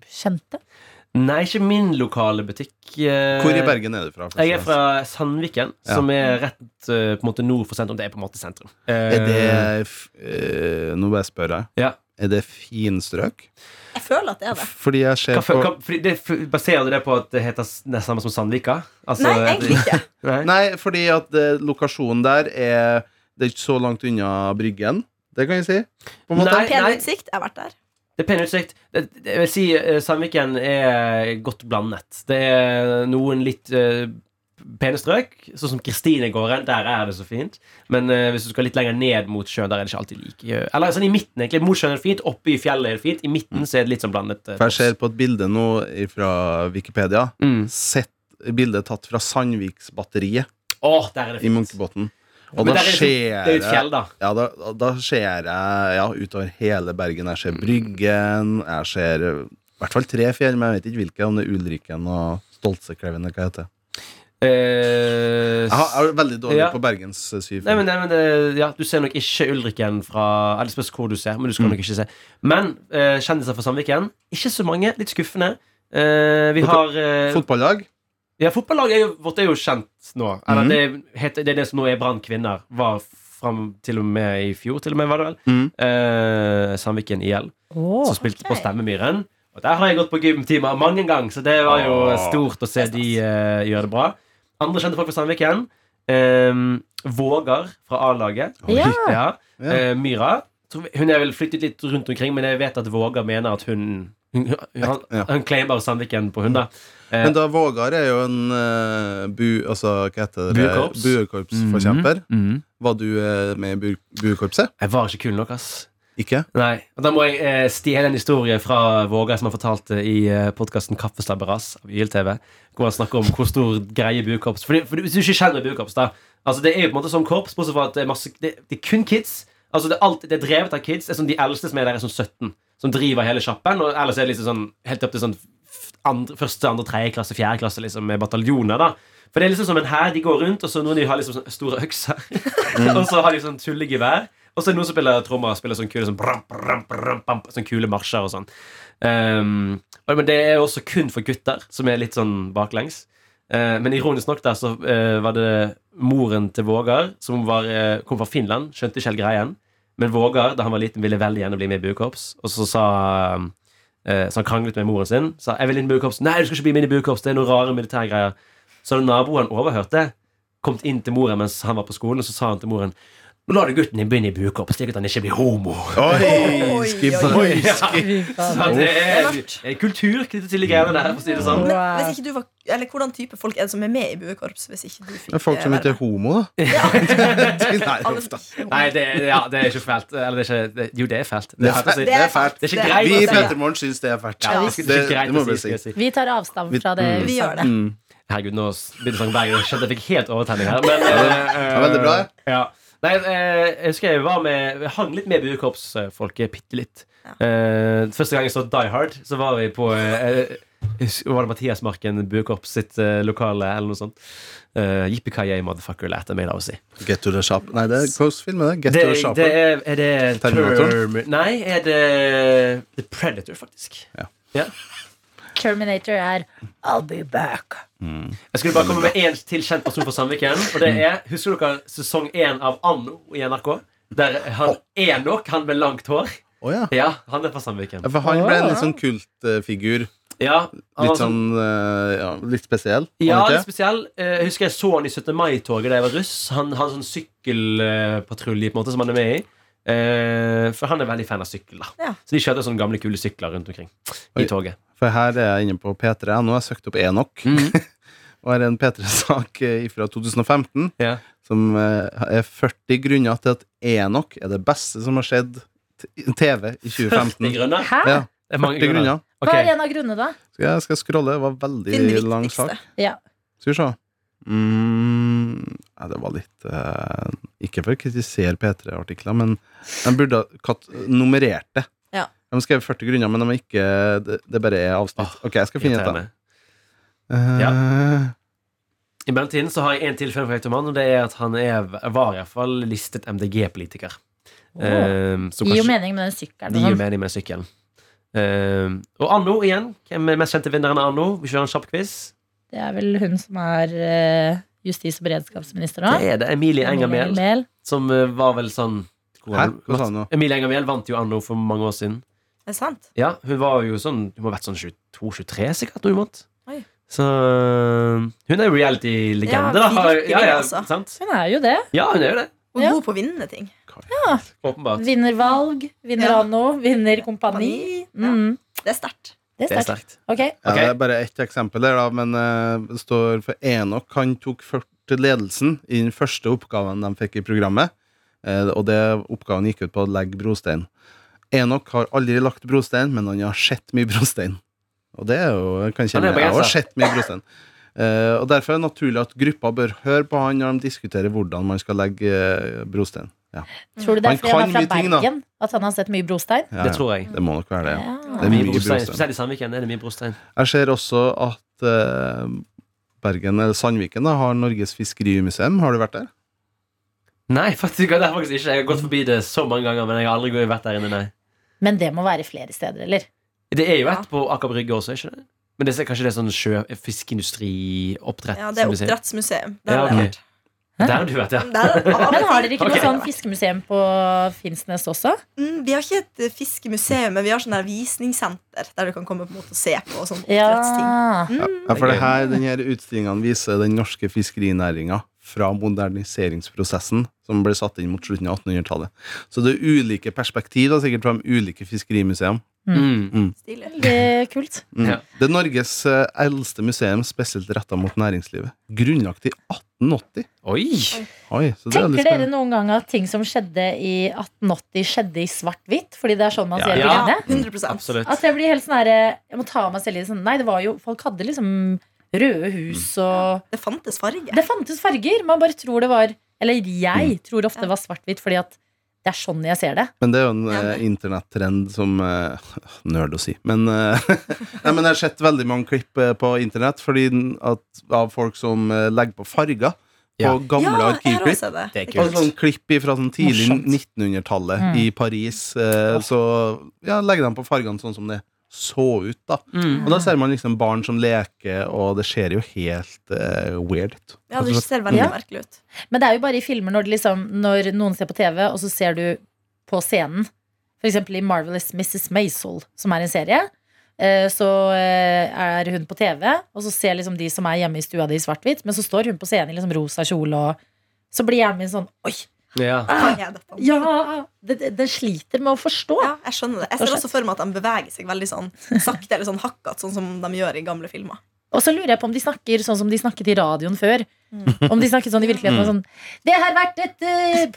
Speaker 2: kjente?
Speaker 5: Nei, ikke min lokale butikk. eh,
Speaker 3: Hvor i Bergen er du fra?
Speaker 5: Jeg er fra Sandviken,
Speaker 3: Ja.
Speaker 5: som er rett eh, på en måte nord for sentrum. Det er på en måte sentrum. Eh,
Speaker 3: Er det f- eh, Nå bare spør jeg.
Speaker 5: ja.
Speaker 3: Er det finstrøk?
Speaker 4: Jeg føler at det er det.
Speaker 3: Fordi jeg ser
Speaker 5: hva,
Speaker 3: på
Speaker 5: hva, fordi det, Baserer du det på at det heter s- det samme som Sandvika? Altså,
Speaker 4: Nei, egentlig ikke.
Speaker 5: Nei.
Speaker 3: Nei, fordi at eh, lokasjonen der er Det er ikke så langt unna Bryggen. Det kan jeg si. På en måte.
Speaker 5: Nei,
Speaker 4: Pen
Speaker 5: nei.
Speaker 4: utsikt. Jeg har vært der.
Speaker 5: Det er pen utsikt. Det, det, jeg vil si eh, Sandviken er godt blandet. Det er noen litt eh, pene strøk, sånn som Kristinegården. Der er det så fint. Men eh, hvis du skal litt lenger ned mot sjøen, der er det ikke alltid like Eller sånn i midten, egentlig. Mot sjøen er det fint, oppe i fjellet er det fint. I
Speaker 3: Mm.
Speaker 5: midten så er det litt sånn blandet. eh,
Speaker 3: For jeg ser på et bilde nå fra Wikipedia.
Speaker 5: Mm.
Speaker 3: Sett bildet tatt fra Sandviksbatteriet
Speaker 5: Åh, der er det
Speaker 3: i
Speaker 5: fint.
Speaker 3: Munkebotn. Og
Speaker 5: Men der
Speaker 3: da
Speaker 5: er det- Det
Speaker 3: ser
Speaker 5: er jo et
Speaker 3: jeg
Speaker 5: fjell, da.
Speaker 3: ja, da, da ser jeg ja, utover hele Bergen. Jeg ser Bryggen, jeg ser eh, i hvert fall tre fjell, men jeg vet ikke hvilke. Om det er Ulriken og Stoltsekleven, eller hva det heter.
Speaker 5: Eh,
Speaker 3: Jeg har- jeg er veldig dårlig
Speaker 5: Ja.
Speaker 3: på Bergens eh, syv.
Speaker 5: Nei, men, nei, men det, ja, Du ser nok ikke Ulriken fra Eller det spørs hvor du ser, men du skal nok ikke se. Men eh, kjendiser fra Sandviken, ikke så mange. Litt skuffende. Eh, vi har
Speaker 3: Fotball-
Speaker 5: eh,
Speaker 3: Fotballag?
Speaker 5: Ja, fotballaget er jo, vårt er jo kjent nå. Eller det, heter, det er det som nå er Brann kvinner. Var fram til og med i fjor, til og med, var det vel.
Speaker 3: Mhm.
Speaker 5: Eh, Sandviken IL,
Speaker 2: Åh,
Speaker 5: som spilte på
Speaker 4: ok.
Speaker 5: Stemmemyren. Og der har jeg gått på gymtimer mange ganger, så det var jo
Speaker 3: Åh.
Speaker 5: stort å se de eh, gjøre det bra. Andre kjente folk fra Sandviken. Eh, Vågar fra A-laget.
Speaker 2: Ja.
Speaker 5: Ja.
Speaker 3: Ja.
Speaker 5: Eh, Myra. Tror vi- Hun er vel flyttet litt rundt omkring, men jeg vet at Vågar mener at hun hun, han,
Speaker 3: Ja.
Speaker 5: han claimer Sandviken på hun, da. Eh,
Speaker 3: Men da Vågar er jo en eh, bu... Altså, hva heter det?
Speaker 5: Buekorps.
Speaker 3: Buekorpsforkjemper.
Speaker 5: Mhm.
Speaker 3: Var du eh, med i bu- buekorpset?
Speaker 5: Jeg var ikke kul nok, ass.
Speaker 3: Ikke?
Speaker 5: Nei. Og da må jeg eh, stjele en historie fra Våga som han fortalte i eh, podkasten Kaffeslabberas av YLTV. Hvor han snakker om hvor stor greie bukorps Fordi, for Hvis du ikke kjenner bukorps, da Altså Det er jo på en måte som korps, bortsett fra at det er, masse, det, det er kun kids. Altså det er, alt, det er drevet av kids. Det er sånn De eldste som er der, er sånn 17. Som driver hele sjappen. Og ellers er det liksom sånn helt opp til sånn f- andre, første, andre, tredje klasse, fjerde klasse liksom med bataljoner. da For det er liksom som en hær. De går rundt, og så noen av de har liksom sånn store økser. og så har de sånn tullegevær. Og så er det noen som spiller trommer og spiller sånn kule sånn, bram, bram, bram, bram, sånn kule marsjer og sånn. Ehm, og- men det er også kun for gutter, som er litt sånn baklengs. Eh, men ironisk nok der så eh, var det moren til Vågar, som var, eh, kom fra Finland, skjønte ikke helt greien. Men Vågar, da han var liten, ville veldig gjerne bli med i buekorps. Og så sa eh, Så han kranglet med moren sin. Sa 'Jeg vil inn i buekorps'. 'Nei, du skal ikke bli med inn i buekorps, det er noen rare militærgreier'. Så hadde naboen overhørt det, kommet inn til moren mens han var på skolen, og så sa han til moren nå lar du gutten din begynne i buekorps, slik at han ikke blir homo.
Speaker 3: Oi, skiboy!
Speaker 5: Så det er en kultur knyttet til de greiene der. for å si det sånn
Speaker 4: Men
Speaker 2: Wow.
Speaker 4: hvis ikke du var, eller Hvordan type folk er det som er med i buekorps? Hvis ikke du fikk eh,
Speaker 3: Det er folk som
Speaker 4: være
Speaker 3: ikke er
Speaker 4: med?
Speaker 3: homo, da. Nei,
Speaker 4: Alle-
Speaker 3: uff da.
Speaker 5: Nei, det, er- ja, det er ikke fælt. Eller det er ikke, det, jo, det er fælt.
Speaker 3: Det er
Speaker 5: fælt å si.
Speaker 3: fælt. Det er fælt.
Speaker 5: Det er ikke greit
Speaker 3: Vi
Speaker 5: å
Speaker 3: i
Speaker 5: si.
Speaker 3: Petter Morgen syns det er fælt.
Speaker 5: Ja,
Speaker 3: Det,
Speaker 5: det, er ikke greit
Speaker 3: det må
Speaker 5: å
Speaker 3: vi
Speaker 5: si,
Speaker 3: si.
Speaker 5: skal jeg si.
Speaker 2: Vi tar avstand fra det.
Speaker 4: Vi gjør det.
Speaker 3: Mm.
Speaker 5: Herregud, nå begynte jeg å snakke bergen. Jeg skjønte jeg fikk helt overtenning her. Men, eh,
Speaker 3: Ja, veldig bra.
Speaker 5: Ja. Nei, eh, jeg husker jeg var med Jeg hang litt med buekorpsfolket, bitte litt. Eh, første gang jeg så Die Hard, så var vi på eh, jeg husker- Var det Mathias Marken buekorps sitt eh, lokale, eller noe sånt? Eh, Yippee-ki-yay, motherfucker, lærte jeg meg da å si.
Speaker 3: Get to the shop. Nei, det er Ghost-film. er det? Get
Speaker 5: Det,
Speaker 3: to the
Speaker 5: det
Speaker 3: shop.
Speaker 5: er, er det
Speaker 3: Terminator?
Speaker 5: Term- Nei, er det The Predator, faktisk.
Speaker 2: Terminator er I'll be back.
Speaker 5: Jeg skulle bare komme med én til kjent person fra Sandviken. Og det er, Husker dere sesong én av Anno i NRK? Der han Enok, han med langt hår
Speaker 3: Å, ja.
Speaker 5: Ja, han er fra Sandviken.
Speaker 3: Ja, For han ble en litt sånn kultfigur.
Speaker 5: Ja, han var
Speaker 3: Litt
Speaker 5: sånn-
Speaker 3: sånn eh, ja, Litt spesiell. var
Speaker 5: Ja,
Speaker 3: han
Speaker 5: litt
Speaker 3: ikke?
Speaker 5: spesiell. Eh, Jeg husker jeg så han i 17. mai-toget da jeg var russ. Han hadde sånn sykkelpatrulje på en måte som han er med i. Eh, For han er veldig fan av sykkel. da
Speaker 4: Ja.
Speaker 5: Så de kjørte sånne gamle, kule sykler rundt omkring
Speaker 3: Oi.
Speaker 5: i toget.
Speaker 3: For her er jeg inne på P3. Nå har jeg søkt opp Enok.
Speaker 5: Mhm.
Speaker 3: Og her er en P3-sak fra 2015
Speaker 5: Ja.
Speaker 3: som eh, er 40 grunner til at Enok er det beste som har skjedd t- TV i
Speaker 5: 40
Speaker 3: 2015.
Speaker 5: grunner.
Speaker 2: Hæ?
Speaker 3: Ja,
Speaker 5: Det er mange
Speaker 3: 40 grunner.
Speaker 5: Ok.
Speaker 2: Hva er en av grunnene, da?
Speaker 3: Skal jeg skal jeg scrolle. Det var
Speaker 4: Finn det
Speaker 3: veldig lang
Speaker 4: viktigste.
Speaker 3: sak.
Speaker 2: Ja.
Speaker 3: Skal vi se. Mm, nei, det var litt eh, Ikke for å kritisere P3-artikler, men de burde ha kat nummerert det.
Speaker 4: Ja.
Speaker 3: De har skrevet 40 grunner, men de er ikke, det, det bare er avsnitt. Ok, jeg skal finne et,
Speaker 5: Ah,
Speaker 3: da.
Speaker 5: Irriterende. Eh, I mellomtiden så har jeg en til fun fact om han, og det er at han er, var iallfall listet MDG-politiker. Um, så
Speaker 2: Oh. Gir jo
Speaker 5: kanskje
Speaker 2: mening med den sykkelen.
Speaker 5: det gir jo
Speaker 2: og sånn.
Speaker 5: mening med sykkelen. Um, og Anno igjen. Hvem er mest kjente vinneren av Anno? Vi kjører en kjapp quiz.
Speaker 2: Det er vel hun som er eh, justis- og beredskapsminister nå.
Speaker 5: Det er det. Emilie Enger Mehl,
Speaker 2: Mehl.
Speaker 5: som uh, var vel sånn hvor
Speaker 3: Hæ?
Speaker 5: var det?
Speaker 3: Hva sa du nå?
Speaker 5: Emilie Enger Mehl vant jo Anno for mange år siden.
Speaker 4: Er det sant?
Speaker 5: Ja, hun var jo sånn Hun må ha vært sånn 22-23 sikkert når hun vant.
Speaker 4: Oi.
Speaker 5: Så um, hun er jo
Speaker 4: Ja,
Speaker 5: reality-legende, da.
Speaker 4: virkelig,
Speaker 5: Ja, ja,
Speaker 4: altså.
Speaker 5: sant?
Speaker 2: Hun er jo det.
Speaker 5: ja, hun er jo det.
Speaker 4: Hun
Speaker 2: Ja.
Speaker 4: er god på å vinne ting.
Speaker 5: Åpenbart.
Speaker 2: Vinner valg, vinner
Speaker 4: Ja.
Speaker 2: anno, vinner kompani.
Speaker 4: Ja.
Speaker 2: Mm.
Speaker 4: Det er sterkt.
Speaker 5: Det
Speaker 2: Det er
Speaker 5: er sterkt.
Speaker 2: sterkt. Ok.
Speaker 3: Ja,
Speaker 5: Ok.
Speaker 3: det er bare ett eksempel der, da, men eh, det står for Enok. Han tok først ledelsen i den første oppgaven de fikk i programmet, eh, og det oppgaven gikk ut på å legge brostein. Enok har aldri lagt brostein, men han har sett mye brostein. Og det er jo jeg
Speaker 5: Han er
Speaker 3: kan kjenne, Jeg har
Speaker 5: bergenser.
Speaker 3: sett mye brostein. Eh, og derfor er det naturlig at gruppa bør høre på han når de diskuterer hvordan man skal legge eh, brostein. Ja,
Speaker 2: Tror du det
Speaker 3: Han
Speaker 2: er fordi han
Speaker 3: kan
Speaker 2: er fra
Speaker 3: mye ting, da.
Speaker 2: Bergen? At han har sett mye brostein?
Speaker 3: ja,
Speaker 5: Det tror jeg.
Speaker 3: ja. det må nok være det. Ja.
Speaker 2: Ja.
Speaker 3: Det er
Speaker 5: Mye
Speaker 3: mye
Speaker 5: brostein.
Speaker 3: brostein.
Speaker 5: Spesielt i Sandviken er det mye brostein.
Speaker 3: Jeg ser også at eh, Bergen, eller Sandviken, da, har Norges fiskerimuseum. Har du vært der?
Speaker 5: Nei, faktisk, det er faktisk ikke. Jeg har gått forbi det så mange ganger, men jeg har aldri vært der inne. Nei.
Speaker 2: Men det må være flere steder, eller?
Speaker 5: Det er jo et på Aker Brygge også, ikke det? Men det er kanskje det er sånn sjø, fiskeindustrioppdrett?
Speaker 4: Ja, det er
Speaker 5: som vi sier.
Speaker 4: oppdrettsmuseum. Der
Speaker 5: Ja,
Speaker 4: har jeg
Speaker 5: ok. Der har du vært, ja.
Speaker 4: vært. Der har alle
Speaker 2: Men har dere ikke
Speaker 5: Ok.
Speaker 2: noe sånn fiskemuseum på Finnsnes også?
Speaker 4: Mm, Vi har ikke et eh, fiskemuseum, men vi har sånn der visningssenter der du kan komme på en måte og se på og sånn oppdrettsting.
Speaker 2: Ja.
Speaker 3: Ja, for det her, denne utstillingen viser den norske fiskerinæringa fra moderniseringsprosessen som ble satt inn mot slutten av 1800-tallet. Så det er ulike perspektiv da, sikkert fra de ulike fiskerimuseene.
Speaker 5: Mm.
Speaker 4: Stilig.
Speaker 2: Det er kult.
Speaker 3: Mm.
Speaker 5: Ja.
Speaker 3: Det er Norges eh, eldste museum spesielt retta mot næringslivet. Grunnlagt i 1880.
Speaker 5: Oi!
Speaker 3: Oi, så det er litt
Speaker 2: Tenker dere
Speaker 3: spennende.
Speaker 2: noen gang at ting som skjedde i 1880, skjedde i svart-hvitt? Fordi det er sånn man
Speaker 5: Ja,
Speaker 2: ser
Speaker 5: ja.
Speaker 2: bildene?
Speaker 4: 100
Speaker 5: Absolutt.
Speaker 2: At jeg blir helt sånn herre Jeg må ta av meg selv i det sånn Nei, det var jo Folk hadde liksom røde hus
Speaker 3: Mm.
Speaker 2: og
Speaker 4: Det fantes farge.
Speaker 2: Det fantes farger. Man bare tror det var Eller jeg
Speaker 3: Mm.
Speaker 2: tror ofte
Speaker 4: Ja.
Speaker 2: det var svart-hvitt, fordi at det er sånn jeg ser det.
Speaker 3: Men det er jo en
Speaker 4: Ja,
Speaker 3: eh,
Speaker 4: det-
Speaker 3: internettrend som eh, Nerd å si. Men, eh, nei, men jeg har sett veldig mange klipp eh, på internett fordi den- at, av folk som eh, legger på farger på
Speaker 5: Ja.
Speaker 3: gamle
Speaker 4: ja, jeg har også
Speaker 3: arkivklipp.
Speaker 4: sett det.
Speaker 5: Det er
Speaker 3: Og sånn
Speaker 5: kult.
Speaker 3: klipp fra sånn tidlig
Speaker 2: Morsomt.
Speaker 3: 1900-tallet
Speaker 2: Mm.
Speaker 3: i Paris. Eh, så ja, legger de på fargene sånn som det så ut, da.
Speaker 5: Mm.
Speaker 3: Og da ser man liksom barn som leker, og det ser jo helt eh, weird ut.
Speaker 4: Ja, det ser veldig
Speaker 2: Ja.
Speaker 4: merkelig ut.
Speaker 2: Men det er jo bare i filmer når, det liksom, når noen ser på TV, og så ser du på scenen. For eksempel i Marvelous Mrs. Maisel, som er en serie. eh, Så eh, er hun på TV, og så ser liksom de som er hjemme i stua di, i svart-hvitt. Men så står hun på scenen i liksom rosa kjole, og så blir hjernen min sånn Oi!
Speaker 5: Ja.
Speaker 4: Kan jeg dette?
Speaker 2: Ja! det- det- Den sliter med å forstå.
Speaker 4: Ja, jeg skjønner det. Jeg ser også for meg at de beveger seg veldig sånn sakte eller sånn hakkat, sånn som de gjør i gamle filmer.
Speaker 2: Og så lurer jeg på om de snakker sånn som de snakket i radioen før.
Speaker 4: Mm.
Speaker 2: Om de snakket sånn i virkeligheten. og Sånn, det har vært et uh,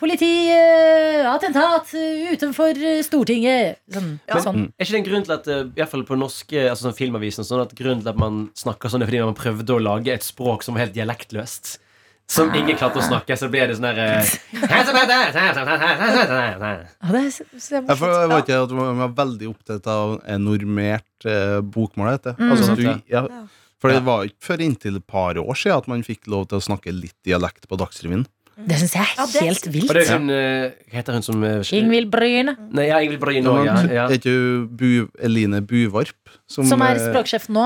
Speaker 2: politiattentat utenfor eh, Stortinget. Sånn,
Speaker 4: Ja.
Speaker 2: sånn.
Speaker 5: Er ikke det en grunn til at eh, i hvert fall på norske altså sånn filmavisen sånn at grunnen til at man snakker sånn, er fordi man prøvde å lage et språk som var helt dialektløst? Som ingen klarte å snakke, så ble det sånn herre
Speaker 2: Ja, det er så, så
Speaker 3: Jeg for- jeg
Speaker 2: morsomt.
Speaker 3: vet ikke at man var veldig opptatt av en normert eh, bokmål, heter det.
Speaker 2: Mm.
Speaker 3: Altså, at
Speaker 5: Sant,
Speaker 3: du, ja, for det var ikke før inntil et par år siden at man fikk lov til å snakke litt dialekt på Dagsrevyen.
Speaker 2: Det syns jeg
Speaker 4: Ja,
Speaker 2: er
Speaker 4: det er
Speaker 2: helt
Speaker 5: Og det
Speaker 2: vilt.
Speaker 5: er hun eh, Hva heter hun som eh,
Speaker 2: Ingvild Bryn,
Speaker 5: Nei, ja, Ingvild Brøyen
Speaker 3: Det
Speaker 5: òg, ja.
Speaker 3: var-
Speaker 5: ja.
Speaker 3: Er ikke hun Bu, Eline Buvarp
Speaker 2: som er
Speaker 3: eh,
Speaker 2: språksjef nå.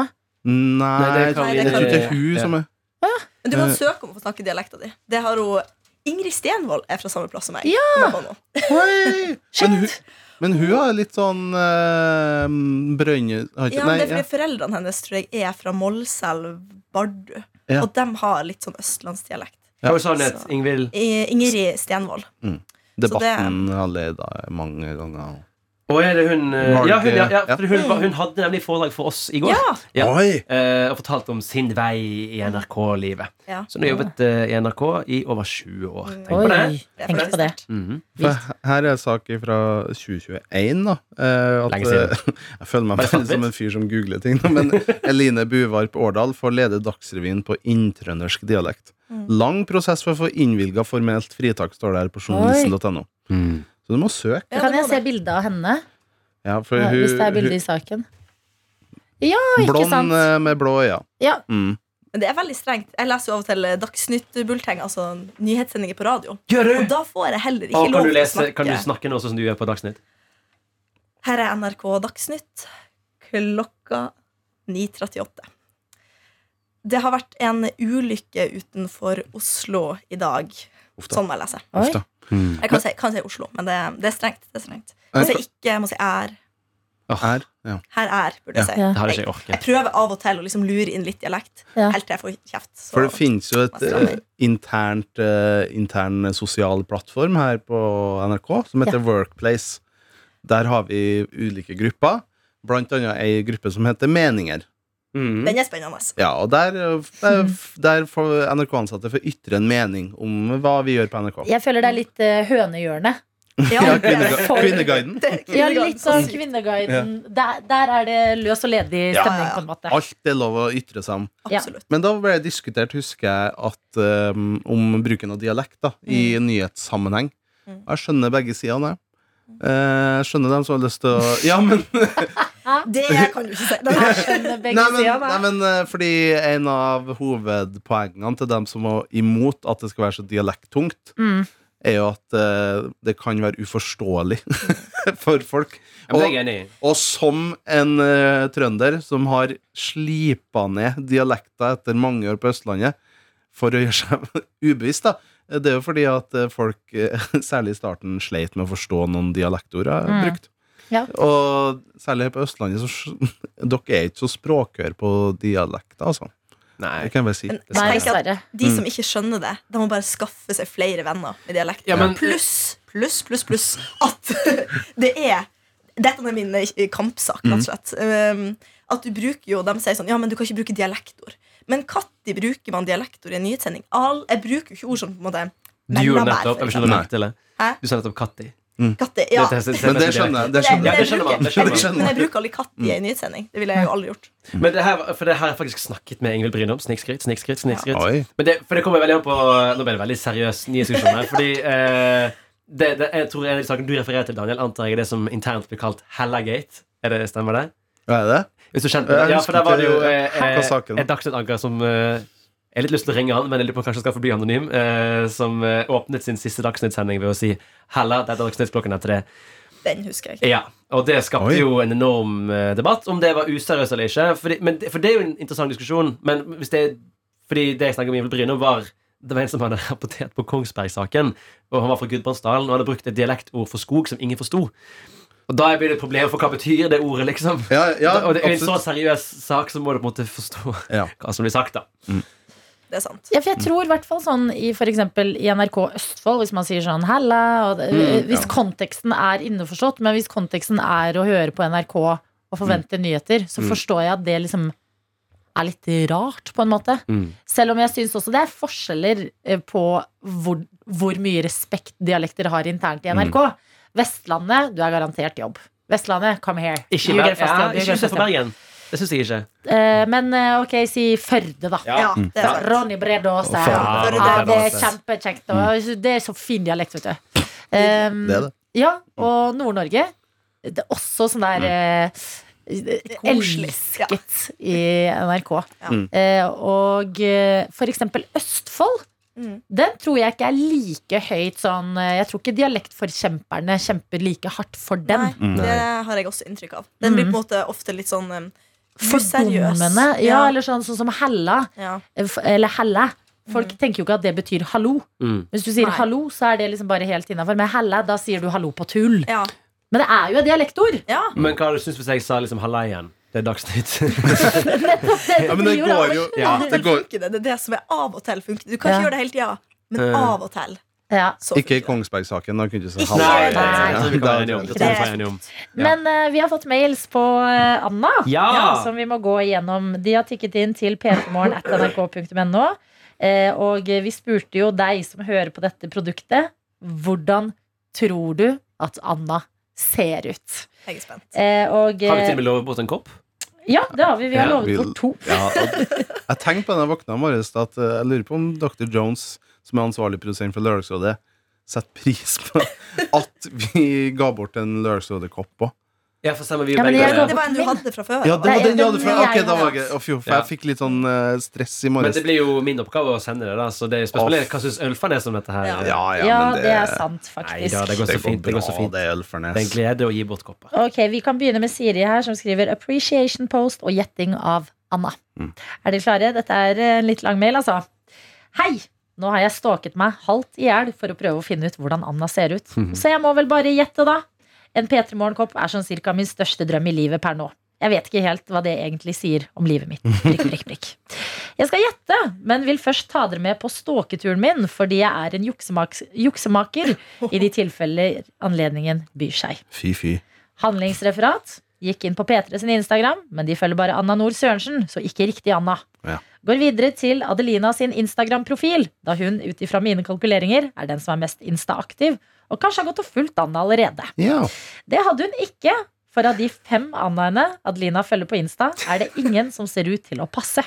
Speaker 3: Nei,
Speaker 5: Nei, det er
Speaker 4: Karoline.
Speaker 3: jeg tror ikke det er hun
Speaker 5: Ja.
Speaker 3: som er
Speaker 4: Men du kan
Speaker 3: Eh.
Speaker 4: søke om å få snakke dialekta di. Det har hun Ingrid Stenvold er fra samme plass som meg.
Speaker 2: Ja!
Speaker 4: kom jeg på nå.
Speaker 3: Hei!
Speaker 2: Shit!
Speaker 3: Men hun, men hun har litt sånn uh, Brønnøy har ikke-
Speaker 4: Ja, men
Speaker 3: Nei,
Speaker 4: det
Speaker 3: ja.
Speaker 4: er fordi Foreldrene hennes tror jeg er fra Målselv, Bardu.
Speaker 3: Ja.
Speaker 4: Og de har litt sånn østlandsdialekt.
Speaker 5: Hva var sannhet,
Speaker 4: Så-
Speaker 5: Ingvild?
Speaker 4: I- Ingrid Stenvold. så det-
Speaker 3: Debatten har ledet mange ganger.
Speaker 5: Å, er det hun eh, Ja, hun, ja, ja
Speaker 3: Ja.
Speaker 5: for hun, var- hun hadde nemlig foredrag for oss i går.
Speaker 4: Ja!
Speaker 5: Ja.
Speaker 3: Oi!
Speaker 5: eh, og fortalte om sin vei i NRK-livet.
Speaker 4: Ja.
Speaker 5: Så hun har jobbet eh, i NRK i over 20 år. Tenk på det.
Speaker 2: Oi,
Speaker 4: Det er
Speaker 2: tenk
Speaker 4: faktisk
Speaker 2: på det.
Speaker 4: sterkt.
Speaker 5: Mhm.
Speaker 3: For her er en sak fra 2021, da. Eh, at,
Speaker 5: Lenge siden.
Speaker 3: eh, Jeg føler meg
Speaker 5: Bare
Speaker 3: bare
Speaker 5: sant
Speaker 3: som
Speaker 5: litt.
Speaker 3: en fyr som googler ting. nå, Men Eline Buvarp Årdal får lede Dagsrevyen på inntrøndersk dialekt.
Speaker 2: Mm.
Speaker 3: Lang prosess for å få innvilga formelt fritak, står det her på journalisten.no. Så du må søke.
Speaker 4: Ja,
Speaker 2: Kan
Speaker 4: det
Speaker 2: jeg
Speaker 4: må
Speaker 2: se
Speaker 4: det.
Speaker 2: bilde av henne?
Speaker 3: Ja, for
Speaker 2: Ja,
Speaker 3: hun,
Speaker 2: Hvis det er bilde
Speaker 3: hun
Speaker 2: i saken. Ja, ikke
Speaker 3: Blond
Speaker 2: sant?
Speaker 3: eh, med blå øyne.
Speaker 2: Ja.
Speaker 3: Mm.
Speaker 4: Men det er veldig strengt. Jeg leser jo av og til Dagsnytt-bulleteng, altså nyhetssendinger på radio.
Speaker 5: Gjør
Speaker 4: Og
Speaker 5: du?
Speaker 4: da får jeg heller ikke
Speaker 5: Og kan
Speaker 4: lov
Speaker 5: du,
Speaker 4: til å
Speaker 5: lese,
Speaker 4: snakke.
Speaker 5: kan du snakke nå sånn som du gjør på Dagsnytt?
Speaker 4: Her er NRK Dagsnytt klokka 9.38. Det har vært en ulykke utenfor Oslo i dag.
Speaker 3: Uff da.
Speaker 4: Sånn må jeg lese.
Speaker 2: Oi.
Speaker 3: Uff da.
Speaker 5: Mm.
Speaker 4: Jeg kan si, kan si Oslo, men det, det er strengt. Det er strengt. Jeg
Speaker 2: altså,
Speaker 4: må si ikke, jeg må si er.
Speaker 3: Her. Ja.
Speaker 4: Her er, burde jeg si.
Speaker 2: Ja.
Speaker 5: Det hadde ikke jeg orket.
Speaker 4: Jeg prøver av og til å liksom lure inn litt dialekt,
Speaker 2: Ja.
Speaker 4: helt til jeg får kjeft. Så.
Speaker 3: For det finnes jo et
Speaker 4: Hva strammer?
Speaker 3: eh, internt, eh, intern sosial plattform her på NRK som heter Workplace. Der har vi ulike grupper, blant annet ei gruppe som heter Meninger.
Speaker 5: Mhm.
Speaker 4: Den er spennende.
Speaker 3: Ja, og der, eh, der, der får NRK-ansatte få ytre en mening om hva vi gjør på NRK.
Speaker 2: Jeg føler det er litt uh, hønehjørne.
Speaker 4: Ja,
Speaker 3: Ja,
Speaker 4: det er-
Speaker 3: kvinnega Kvinneguiden.
Speaker 4: det er
Speaker 2: Ja, litt sånn
Speaker 4: kvinneguiden.
Speaker 2: Kvinneguiden. Der, der er det løs og ledig
Speaker 3: Ja.
Speaker 2: stemning, på en måte.
Speaker 3: Alt er lov å ytre seg om.
Speaker 2: Ja.
Speaker 4: Absolutt.
Speaker 3: Men da ble det diskutert, husker jeg, at, um, om bruken av dialekt da, i nyhetssammenheng.
Speaker 4: Mm.
Speaker 3: Og jeg skjønner begge sidene. jeg. Eh, Jeg skjønner dem som har lyst til å Ja, men,
Speaker 4: Det kan du ikke si. Den her
Speaker 2: Skjønner begge
Speaker 3: nei, men,
Speaker 2: sider,
Speaker 3: nei,
Speaker 2: da.
Speaker 3: men eh, Fordi en av hovedpoengene til dem som var imot at det skal være så dialekttungt,
Speaker 2: Mm.
Speaker 3: er jo at eh, det kan være uforståelig for folk.
Speaker 5: Ja, men det er jeg enig i.
Speaker 3: Og som en eh, trønder som har slipa ned dialekta etter mange år på Østlandet, for å gjøre seg ubevisst, da. Det er jo fordi at eh, folk, eh, særlig i starten, sleit med å forstå noen dialektord jeg har
Speaker 2: Mm.
Speaker 3: brukt.
Speaker 2: Ja.
Speaker 3: Og særlig her på Østlandet, så s- dere er ikke så språkkøre på dialekter, altså. Det
Speaker 5: Nei.
Speaker 3: kan jeg bare si.
Speaker 4: Men
Speaker 2: Nei,
Speaker 4: jeg tenker at
Speaker 2: dessverre.
Speaker 4: De som ikke skjønner det, de må bare skaffe seg flere venner med dialekt.
Speaker 5: Ja, men-
Speaker 4: pluss, pluss, pluss, pluss at det er Dette er min eh, kampsak, rett og slett. Um, at du bruker jo, De sier sånn Ja, men du kan ikke bruke dialektord. Men når bruker man dialektord i en nyhetssending? All, jeg bruker jo ikke ord som på en måte
Speaker 5: Du gjorde
Speaker 4: mellomvær,
Speaker 5: nettopp
Speaker 4: for
Speaker 5: Jeg skjønner
Speaker 3: Nei.
Speaker 5: meg til det.
Speaker 4: Hæ?
Speaker 5: Du sa nettopp Katti.
Speaker 4: Katti, ja.
Speaker 5: Det- det- det-
Speaker 3: Men det skjønner jeg. Det
Speaker 4: Men
Speaker 3: skjønner
Speaker 5: Ja,
Speaker 3: jeg.
Speaker 5: det
Speaker 4: jeg
Speaker 5: skjønner man,
Speaker 4: bruker-
Speaker 5: det skjønder
Speaker 3: man.
Speaker 4: Men jeg bruker aldri Katti i en nyhetssending. Det ville jeg jo aldri gjort.
Speaker 5: Men det her, for det her har jeg faktisk snakket med Ingvild Brynholm. Snikskryt, snikskryt, snikskryt.
Speaker 3: Oi.
Speaker 5: Men det, for det kommer veldig an på Nå ble det veldig seriøs nyhetsdiskusjon her. Fordi eh, det, det, jeg tror en av de sakene du refererer til, Daniel, antar jeg er det som internt blir kalt Hellagate. Er det, stemmer det?
Speaker 3: Hva er det?
Speaker 5: Hvis du kjente det?
Speaker 3: Jeg
Speaker 5: Ja, for der var det jo
Speaker 3: husker
Speaker 5: eh,
Speaker 3: ikke hva saken
Speaker 5: eh,
Speaker 3: var.
Speaker 5: et Dagsnytt Anker som eh, Jeg har litt lyst til å ringe han, men jeg lurer på kanskje han skal forbli anonym. Eh, som eh, åpnet sin siste Dagsnytt-sending ved å si Hella, det er Dagsnytt klokken etter det.
Speaker 4: Den husker jeg.
Speaker 5: Ja, og det skapte
Speaker 3: Oi.
Speaker 5: jo en enorm eh, debatt om det var useriøst eller ikke. Fordi, men, det- for det er jo en interessant diskusjon. Men hvis det, fordi det jeg snakket med Emil Bryne om, var det var en som hadde rapportert på Kongsberg-saken. Og han var fra Gudbrandsdalen og hadde brukt et dialektord for skog som ingen forsto. Og da blir det et problem for hva betyr det ordet, liksom.
Speaker 3: Ja, ja,
Speaker 5: og det er sånn- en så
Speaker 3: absolutt.
Speaker 5: seriøs sak, så må du på en måte forstå
Speaker 3: Ja.
Speaker 5: hva som blir sagt, da.
Speaker 4: Det er sant.
Speaker 2: Ja, for
Speaker 5: Mm.
Speaker 2: jeg tror i hvert fall sånn i for eksempel i NRK Østfold, hvis man sier sånn hella og, det-
Speaker 5: Mm,
Speaker 2: Hvis konteksten er innforstått, men hvis konteksten er å høre på NRK og
Speaker 5: Mm.
Speaker 2: forvente nyheter, så forstår jeg at det liksom er litt rart, på en måte.
Speaker 5: Mm.
Speaker 2: Selv om jeg syns også det er forskjeller eh, på hvor, hvor mye respekt dialekter har internt i
Speaker 5: Mm.
Speaker 2: NRK. Vestlandet, du er garantert jobb. Vestlandet, come here.
Speaker 5: Ikke,
Speaker 2: You
Speaker 5: Ber-
Speaker 2: get fast
Speaker 5: ja,
Speaker 2: job, you
Speaker 5: ikke
Speaker 2: get
Speaker 5: se
Speaker 2: fast
Speaker 5: for
Speaker 2: job.
Speaker 5: Bergen. Det syns jeg ikke.
Speaker 2: Eh, Men eh, ok, si Førde, da.
Speaker 4: Ja, det er sant.
Speaker 2: Ronny Brede Aase.
Speaker 3: Å,
Speaker 2: Ja,
Speaker 4: faen.
Speaker 2: ja, det er Mm.
Speaker 5: Brede Aase.
Speaker 2: kjempekjekt. Og det er så fin dialekt, vet du. Um,
Speaker 3: Det er det.
Speaker 2: Ja, og Nord-Norge. Det er også sånn der eh,
Speaker 4: Koselig. Ja.
Speaker 2: Elsket i NRK.
Speaker 4: Ja.
Speaker 2: Eh, og eh, for eksempel Østfold.
Speaker 4: Mm.
Speaker 2: Den tror jeg ikke er like høyt sånn eh, Jeg tror ikke dialektforkjemperne kjemper like hardt for den.
Speaker 4: Nei,
Speaker 3: Mm.
Speaker 4: det har jeg også inntrykk av. Den blir på en måte ofte litt sånn um, useriøs.
Speaker 2: Fordommene. Mm. Ja,
Speaker 4: Ja.
Speaker 2: eller sånn, sånn som Hella.
Speaker 4: Ja.
Speaker 2: F- Eller helle Folk tenker jo ikke at det betyr hallo
Speaker 5: Mm.
Speaker 2: Hvis du sier
Speaker 4: Nei.
Speaker 2: hallo, så er det liksom bare helt innenfor Men helle, da sier du hallo på tull
Speaker 4: Ja.
Speaker 2: Men det er jo et dialektord
Speaker 4: ja.
Speaker 5: Men hva hadde du syntes hvis jeg sa liksom halla igjen? Det er Dagsnytt.
Speaker 3: Ja, men det
Speaker 2: blir jo
Speaker 3: går
Speaker 2: rart.
Speaker 3: jo
Speaker 5: Ja.
Speaker 4: Av og
Speaker 3: det
Speaker 4: til
Speaker 3: går,
Speaker 4: funker det. Det er det som er av og til funker. Du kan ikke
Speaker 2: Ja.
Speaker 4: gjøre det hele tida, men
Speaker 5: Eh.
Speaker 4: av og til.
Speaker 2: ja.
Speaker 4: Så
Speaker 3: Ikke i
Speaker 4: funker det.
Speaker 3: Kongsberg-saken. Da kunne du si
Speaker 4: Ikke-
Speaker 3: hallo.
Speaker 5: Nei,
Speaker 4: Nei,
Speaker 5: det
Speaker 4: nei,
Speaker 5: tror jeg vi kan være enige om. Det tror jeg vi kan være enige om. Ja.
Speaker 2: Men eh, vi har fått mails på eh, Anna
Speaker 5: Ja!
Speaker 2: Som vi må gå igjennom De har tikket inn til ptmorgen.nrk.no eh, Og vi spurte jo deg som hører på dette produktet Hvordan tror du at Anna ser ut?
Speaker 4: Jeg er spent.
Speaker 2: Eh, og,
Speaker 5: Har vi til
Speaker 2: eh,
Speaker 5: og med lovet bort en kopp?
Speaker 2: ja, det har vi Vi har
Speaker 5: Ja,
Speaker 2: lovet
Speaker 3: vi-
Speaker 2: bort to
Speaker 3: Ja, og jeg tenkte på da jeg våkna i morges, at eh, jeg lurer på om Dr. Jones, som er ansvarlig produsent for Lørdagsrådet, setter pris på at vi ga bort en Lørdagsrådet-kopp òg.
Speaker 5: Ja, for stemmer vi
Speaker 2: Ja, men
Speaker 5: begge
Speaker 2: jeg
Speaker 5: det.
Speaker 2: går
Speaker 4: Det var en du
Speaker 2: min.
Speaker 4: hadde fra før.
Speaker 3: Ja, det
Speaker 4: da.
Speaker 2: Nei,
Speaker 3: var den du hadde
Speaker 2: den
Speaker 3: fra
Speaker 2: jeg
Speaker 3: Ok, da
Speaker 2: hadde.
Speaker 3: var jeg, å, fy, for jeg fikk litt sånn eh, stress i
Speaker 5: Men
Speaker 3: morges.
Speaker 5: det blir jo min oppgave å sende det, da. Så det er spørsmålet er hva syns Ølfan er som dette her.
Speaker 4: Ja.
Speaker 3: Ja, ja,
Speaker 2: Ja,
Speaker 3: men
Speaker 2: det er sant,
Speaker 5: Nei
Speaker 2: faktisk.
Speaker 5: da, det går så
Speaker 3: Det går
Speaker 5: fint. Det går så
Speaker 3: bra,
Speaker 5: fint.
Speaker 3: det
Speaker 5: Det
Speaker 3: er Ølfernes.
Speaker 5: er en glede å gi bort kopper.
Speaker 2: Ok, Vi kan begynne med Siri her, som skriver 'appreciation post' og 'gjetting av Anna'. Er dere klare? Dette er eh, en litt lang mail, altså. Hei! Nå har jeg stalket meg halvt i hjel for å prøve å finne ut hvordan Anna ser ut. Så jeg må vel bare gjette, da. En P3 Morgenkopp er sånn cirka min største drøm i livet per nå. Jeg vet ikke helt hva det egentlig sier om livet mitt. Prikk, prikk, prikk. Jeg skal gjette, men vil først ta dere med på stalketuren min, fordi jeg er en juksemaks- juksemaker i de tilfeller anledningen byr seg.
Speaker 3: Fy, fy.
Speaker 2: Handlingsreferat. Gikk inn på P3 sin Instagram, men de følger bare Anna Nord Sørensen, så ikke riktig Anna.
Speaker 3: Ja.
Speaker 2: Går videre til Adelina sin Instagram-profil, da hun ut ifra mine kalkuleringer er den som er mest Insta-aktiv, og kanskje har gått og fulgt Anna allerede.
Speaker 3: Ja.
Speaker 2: Det hadde hun ikke, for av de fem Annaene Adelina følger på Insta, er det ingen som ser ut til å passe.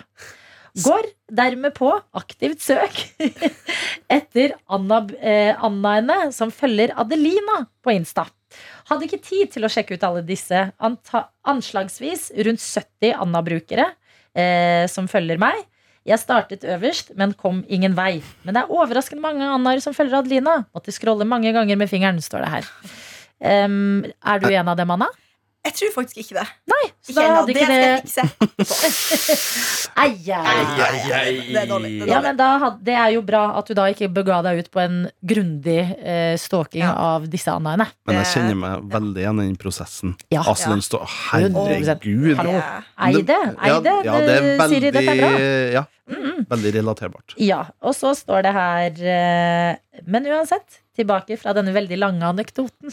Speaker 2: Går dermed på aktivt søk etter Anna- eh, Annaene som følger Adelina på Insta. Hadde ikke tid til å sjekke ut alle disse anta anslagsvis rundt 70 Anna-brukere eh, som følger meg. Jeg startet øverst, men kom ingen vei. Men det er overraskende mange Annaer som følger Adelina. Måtte scrolle mange ganger med fingeren, står det her. Em, er du en av dem, Anna?
Speaker 4: Jeg tror faktisk ikke det.
Speaker 2: Så
Speaker 4: Ikke
Speaker 2: da
Speaker 4: ennå.
Speaker 2: hadde
Speaker 4: Det
Speaker 2: ikke
Speaker 4: skal jeg
Speaker 2: det
Speaker 4: fikse.
Speaker 2: Eie.
Speaker 4: Det er dårlig. Det er
Speaker 2: Ja,
Speaker 4: dårlig.
Speaker 2: men da, had- Det er jo bra at du da ikke bega deg ut på en grundig eh, stalking
Speaker 4: Ja.
Speaker 2: av disse annaene.
Speaker 3: Men jeg
Speaker 4: Det-
Speaker 3: kjenner meg veldig igjen i den prosessen.
Speaker 2: Ja.
Speaker 3: Altså, den står Herregud.
Speaker 2: Hallo.
Speaker 4: Ja.
Speaker 2: Eide,
Speaker 3: Ja,
Speaker 2: Eide
Speaker 3: ja, det er
Speaker 2: Siri, dette er bra.
Speaker 3: veldig- Ja. Veldig relaterbart.
Speaker 2: Ja, og så står det her eh, Men uansett, tilbake fra denne veldig lange anekdoten.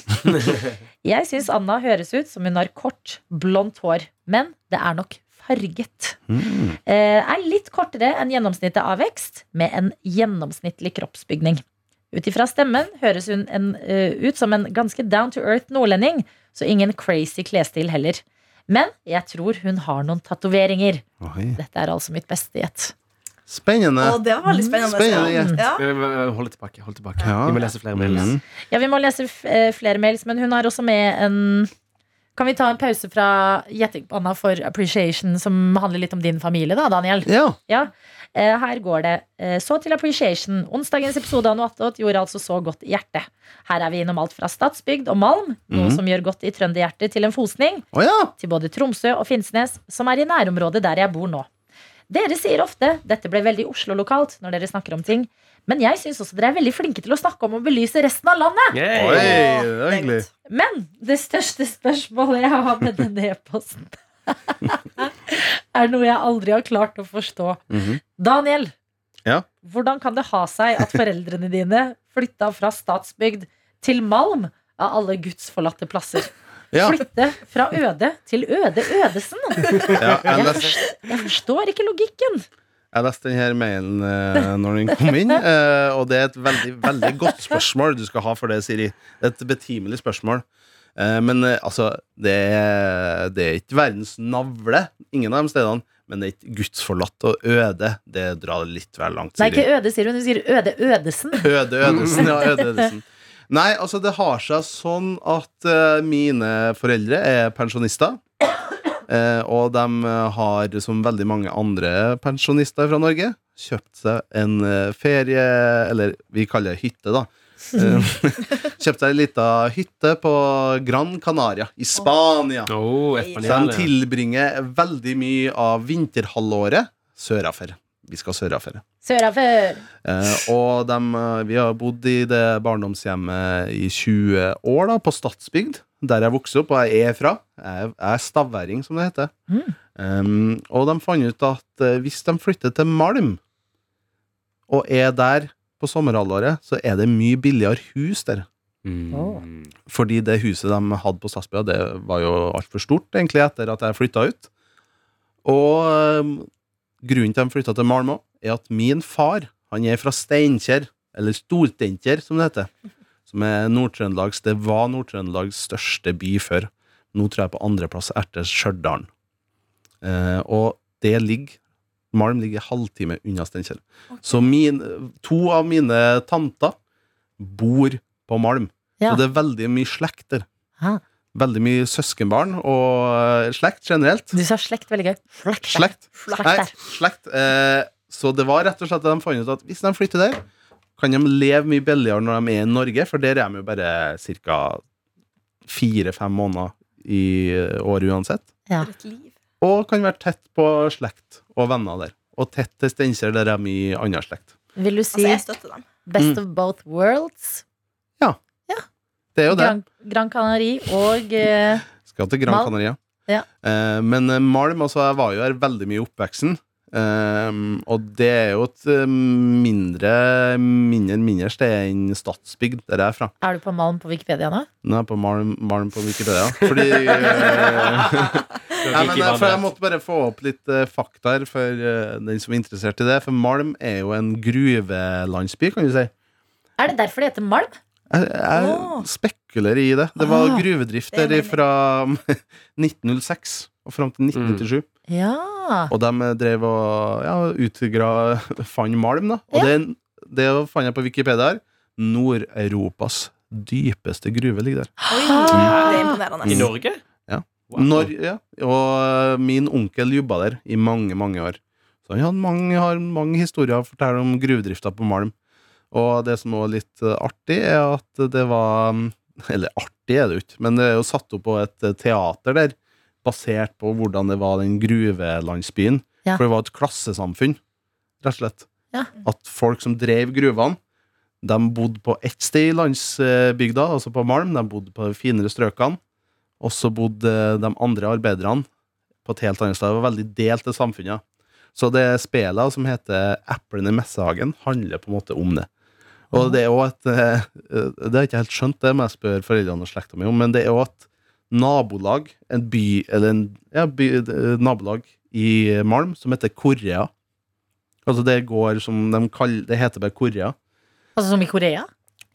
Speaker 2: Jeg syns Anna høres ut som hun har kort, blondt hår. Men det er nok farget.
Speaker 3: Mm,
Speaker 2: Eh, Er litt kortere enn gjennomsnittet av vekst, med en gjennomsnittlig kroppsbygning. Ut ifra stemmen høres hun en, eh, ut som en ganske down to earth nordlending, så ingen crazy klesstil heller. Men jeg tror hun har noen tatoveringer.
Speaker 3: Oi.
Speaker 2: Dette er altså mitt beste gjett.
Speaker 3: Spennende.
Speaker 4: Og det var veldig spennende.
Speaker 3: Spennende
Speaker 4: Ja.
Speaker 5: Men, men, men, Hold det tilbake. Hold det tilbake.
Speaker 3: Ja.
Speaker 5: Vi må lese flere mails.
Speaker 3: Mm.
Speaker 2: Ja, vi må lese f- eh, flere mails, men hun har også med en Kan vi ta en pause fra gjetting på Anna for appreciation, som handler litt om din familie, da, Daniel?
Speaker 3: Ja.
Speaker 2: Ja, eh, her går det. Eh, Så til appreciation. Onsdagens episode av Noe attåt gjorde altså så godt i hjertet. Her er vi innom alt fra Stadsbygd og Malm, noe som gjør godt i trønderhjertet, til en fosning,
Speaker 3: Å ja.
Speaker 2: til både Tromsø og Finnsnes, som er i nærområdet der jeg bor nå. Dere sier ofte 'dette ble veldig Oslo-lokalt' når dere snakker om ting, men jeg syns også dere er veldig flinke til å snakke om og belyse resten av landet.
Speaker 5: Yay.
Speaker 3: Oi, det
Speaker 4: Åh,
Speaker 3: var
Speaker 4: det er
Speaker 3: hyggelig.
Speaker 4: godt.
Speaker 2: Men det største spørsmålet jeg har med denne e-posten, er noe jeg aldri har klart å forstå.
Speaker 3: Mhm.
Speaker 2: Daniel,
Speaker 3: Ja?
Speaker 2: hvordan kan det ha seg at foreldrene dine flytta fra Statsbygd til Malm av alle gudsforlatte plasser?
Speaker 3: Ja,
Speaker 2: Flytte fra Øde til Øde Ødesen?
Speaker 3: ja, jeg,
Speaker 2: Jeg,
Speaker 3: leste,
Speaker 2: forstår, jeg forstår ikke logikken.
Speaker 3: jeg leste denne mailen eh, når den kom inn, eh, og det er et veldig, veldig godt spørsmål du skal ha for det, Siri. Det er Et betimelig spørsmål. Eh, men eh, altså, det er, det er ikke verdens navle, ingen av de stedene. Men det er ikke gudsforlatt og øde. Det drar litt vel langt,
Speaker 2: Nei,
Speaker 3: Siri.
Speaker 2: ikke Øde, sier hun. Hun sier Øde Ødesen.
Speaker 3: Øde Ødesen, ja. Øde Ødesen. Nei, altså det har seg sånn at eh, mine foreldre er pensjonister. eh, og de eh, har, som veldig mange andre pensjonister fra Norge, kjøpt seg en eh, ferie Eller vi kaller det hytte, da. Eh, kjøpt seg ei lita hytte på Gran Canaria i Spania.
Speaker 5: Oh, et
Speaker 4: Så
Speaker 5: panel,
Speaker 3: Så de
Speaker 5: ja.
Speaker 3: tilbringer veldig mye av vinterhalvåret sørafor. Vi skal sørafor.
Speaker 2: Sørafør.
Speaker 3: Eh, og dem, eh, vi har bodd i det barndomshjemmet i 20 år, da, på Stadsbygd. Der jeg vokste opp, og jeg er fra. Jeg er- jeg er stavværing, som det heter.
Speaker 2: Mm.
Speaker 3: Um, og de fant ut at eh, hvis de flytter til Malm, og er der på sommerhalvåret, så er det mye billigere hus der.
Speaker 5: Mm.
Speaker 3: Fordi det huset de hadde på Stadsbya, det var jo altfor stort, egentlig, etter at jeg flytta ut. Og øhm, grunnen til at de flytta til Malmö, er at min far, han er fra Steinkjer, eller Stortenkjer, som det heter. Som er Nord-Trøndelags Det var Nord-Trøndelags største by før. Nå tror jeg på andreplass etter Stjørdal. Eh, og det ligger Malm ligger halvtime unna Steinkjer. Så min, to av mine tanter bor på Malm.
Speaker 2: Ja.
Speaker 3: Så det er veldig mye slekter.
Speaker 2: Ah.
Speaker 3: Veldig mye søskenbarn og eh, slekt generelt.
Speaker 2: Du sa slekt veldig gøy. Slekt.
Speaker 3: Slekt.
Speaker 2: Slekt
Speaker 3: Nei,
Speaker 2: der.
Speaker 3: slekt. Eh, så det var rett og slett at de fant ut at hvis de flytter der, kan de leve mye billigere når de er i Norge, for der er de jo bare ca. fire-fem måneder i eh, året uansett.
Speaker 2: Ja.
Speaker 4: For et liv.
Speaker 3: Og kan være tett på slekt og venner der. Og tett til Steinkjer, der er mye annen slekt.
Speaker 2: Vil du
Speaker 4: Altså,
Speaker 2: si
Speaker 4: jeg støtter dem.
Speaker 2: best
Speaker 3: Mm.
Speaker 2: of both worlds?
Speaker 3: Det er jo det.
Speaker 2: Gran, Gran Canari og eh,
Speaker 3: Skal til Gran
Speaker 2: Malm.
Speaker 3: Canaria.
Speaker 2: Ja.
Speaker 3: Eh, men eh, Malm, altså, jeg var jo her veldig mye i oppveksten. Ehm, og det er jo et eh, mindre, mindre, mindre sted enn Stadsbygd, der jeg er fra.
Speaker 2: Er du på Malm på Wikipedia nå?
Speaker 3: Nå er jeg på Malm, Malm på Wikipedia. Fordi eh, Nei, men eh, for Jeg måtte bare få opp litt eh, fakta her for eh, den som er interessert i det. For Malm er jo en gruvelandsby, kan du si.
Speaker 2: Er det derfor det heter Malm?
Speaker 3: Jeg, jeg
Speaker 4: Åh.
Speaker 3: spekulerer i det. Det var
Speaker 2: Ah,
Speaker 3: gruvedrift
Speaker 4: det er
Speaker 3: der
Speaker 4: veldig-
Speaker 3: fra 1906 og fram til 1997.
Speaker 2: Ja.
Speaker 3: Og de drev og ja, utgra fant malm, da. Og det, det fant jeg på Wikipedia her. Nord-Europas dypeste gruve ligger der.
Speaker 4: Oi,
Speaker 2: Ah.
Speaker 4: det er imponerende.
Speaker 5: I Norge?
Speaker 3: Ja.
Speaker 5: Wow.
Speaker 3: Når, ja, og min onkel jobba der i mange, mange år. Så han hadde mange, har mange historier å fortelle om gruvedrifta på Malm. Og det som var litt eh, artig, er at det var mm, Eller artig er det jo ikke, men det er jo satt opp på et eh, teater der, basert på hvordan det var den gruvelandsbyen.
Speaker 2: Ja.
Speaker 3: For det var et klassesamfunn, rett og slett.
Speaker 2: Ja.
Speaker 3: At folk som drev gruvene, de bodde på ett sted i landsbygda, altså på Malm. De bodde på de finere strøkene. Og så bodde de andre arbeiderne på et helt annet sted. Det var veldig delt, det samfunnet. Så det spillet som heter Eplene i messehagen, handler på en måte om det. Og det er også et eh, Det har jeg ikke helt skjønt, det må jeg spørre foreldrene og slekta mi om, men det er jo at nabolag, en by, eller en, ja, by, eh, nabolag i Malm som heter Korea Altså det går som de kaller Det heter bare Korea.
Speaker 2: Altså som i Korea?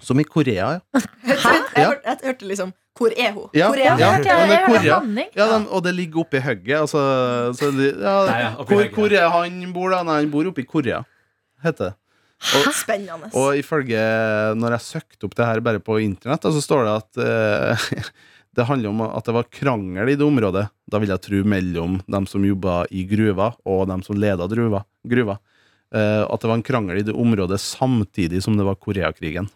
Speaker 3: Som i Korea, ja.
Speaker 4: Jeg, hørte, jeg hørte liksom Hvor er hun?
Speaker 3: Ja,
Speaker 4: Hvor er hun?
Speaker 3: ja.
Speaker 2: Hørte jeg,
Speaker 3: men
Speaker 2: jeg hørte
Speaker 3: Korea-
Speaker 2: blanding.
Speaker 3: Ja, dem- og det ligger oppi hugget. Altså, så de, ja,
Speaker 5: Nei, ja, oppi
Speaker 3: hvor,
Speaker 5: hugget,
Speaker 3: hvor er han bor, da? Nei, han bor oppi Korea, heter det.
Speaker 4: Spennende.
Speaker 3: Og ifølge Når jeg søkte opp det her bare på internett, da, så står det at eh, det handler om at det var krangel i det området, da vil jeg tro, mellom dem som jobba i gruva, og dem som leda druva, gruva. Eh, at det var en krangel i det området samtidig som det var Koreakrigen.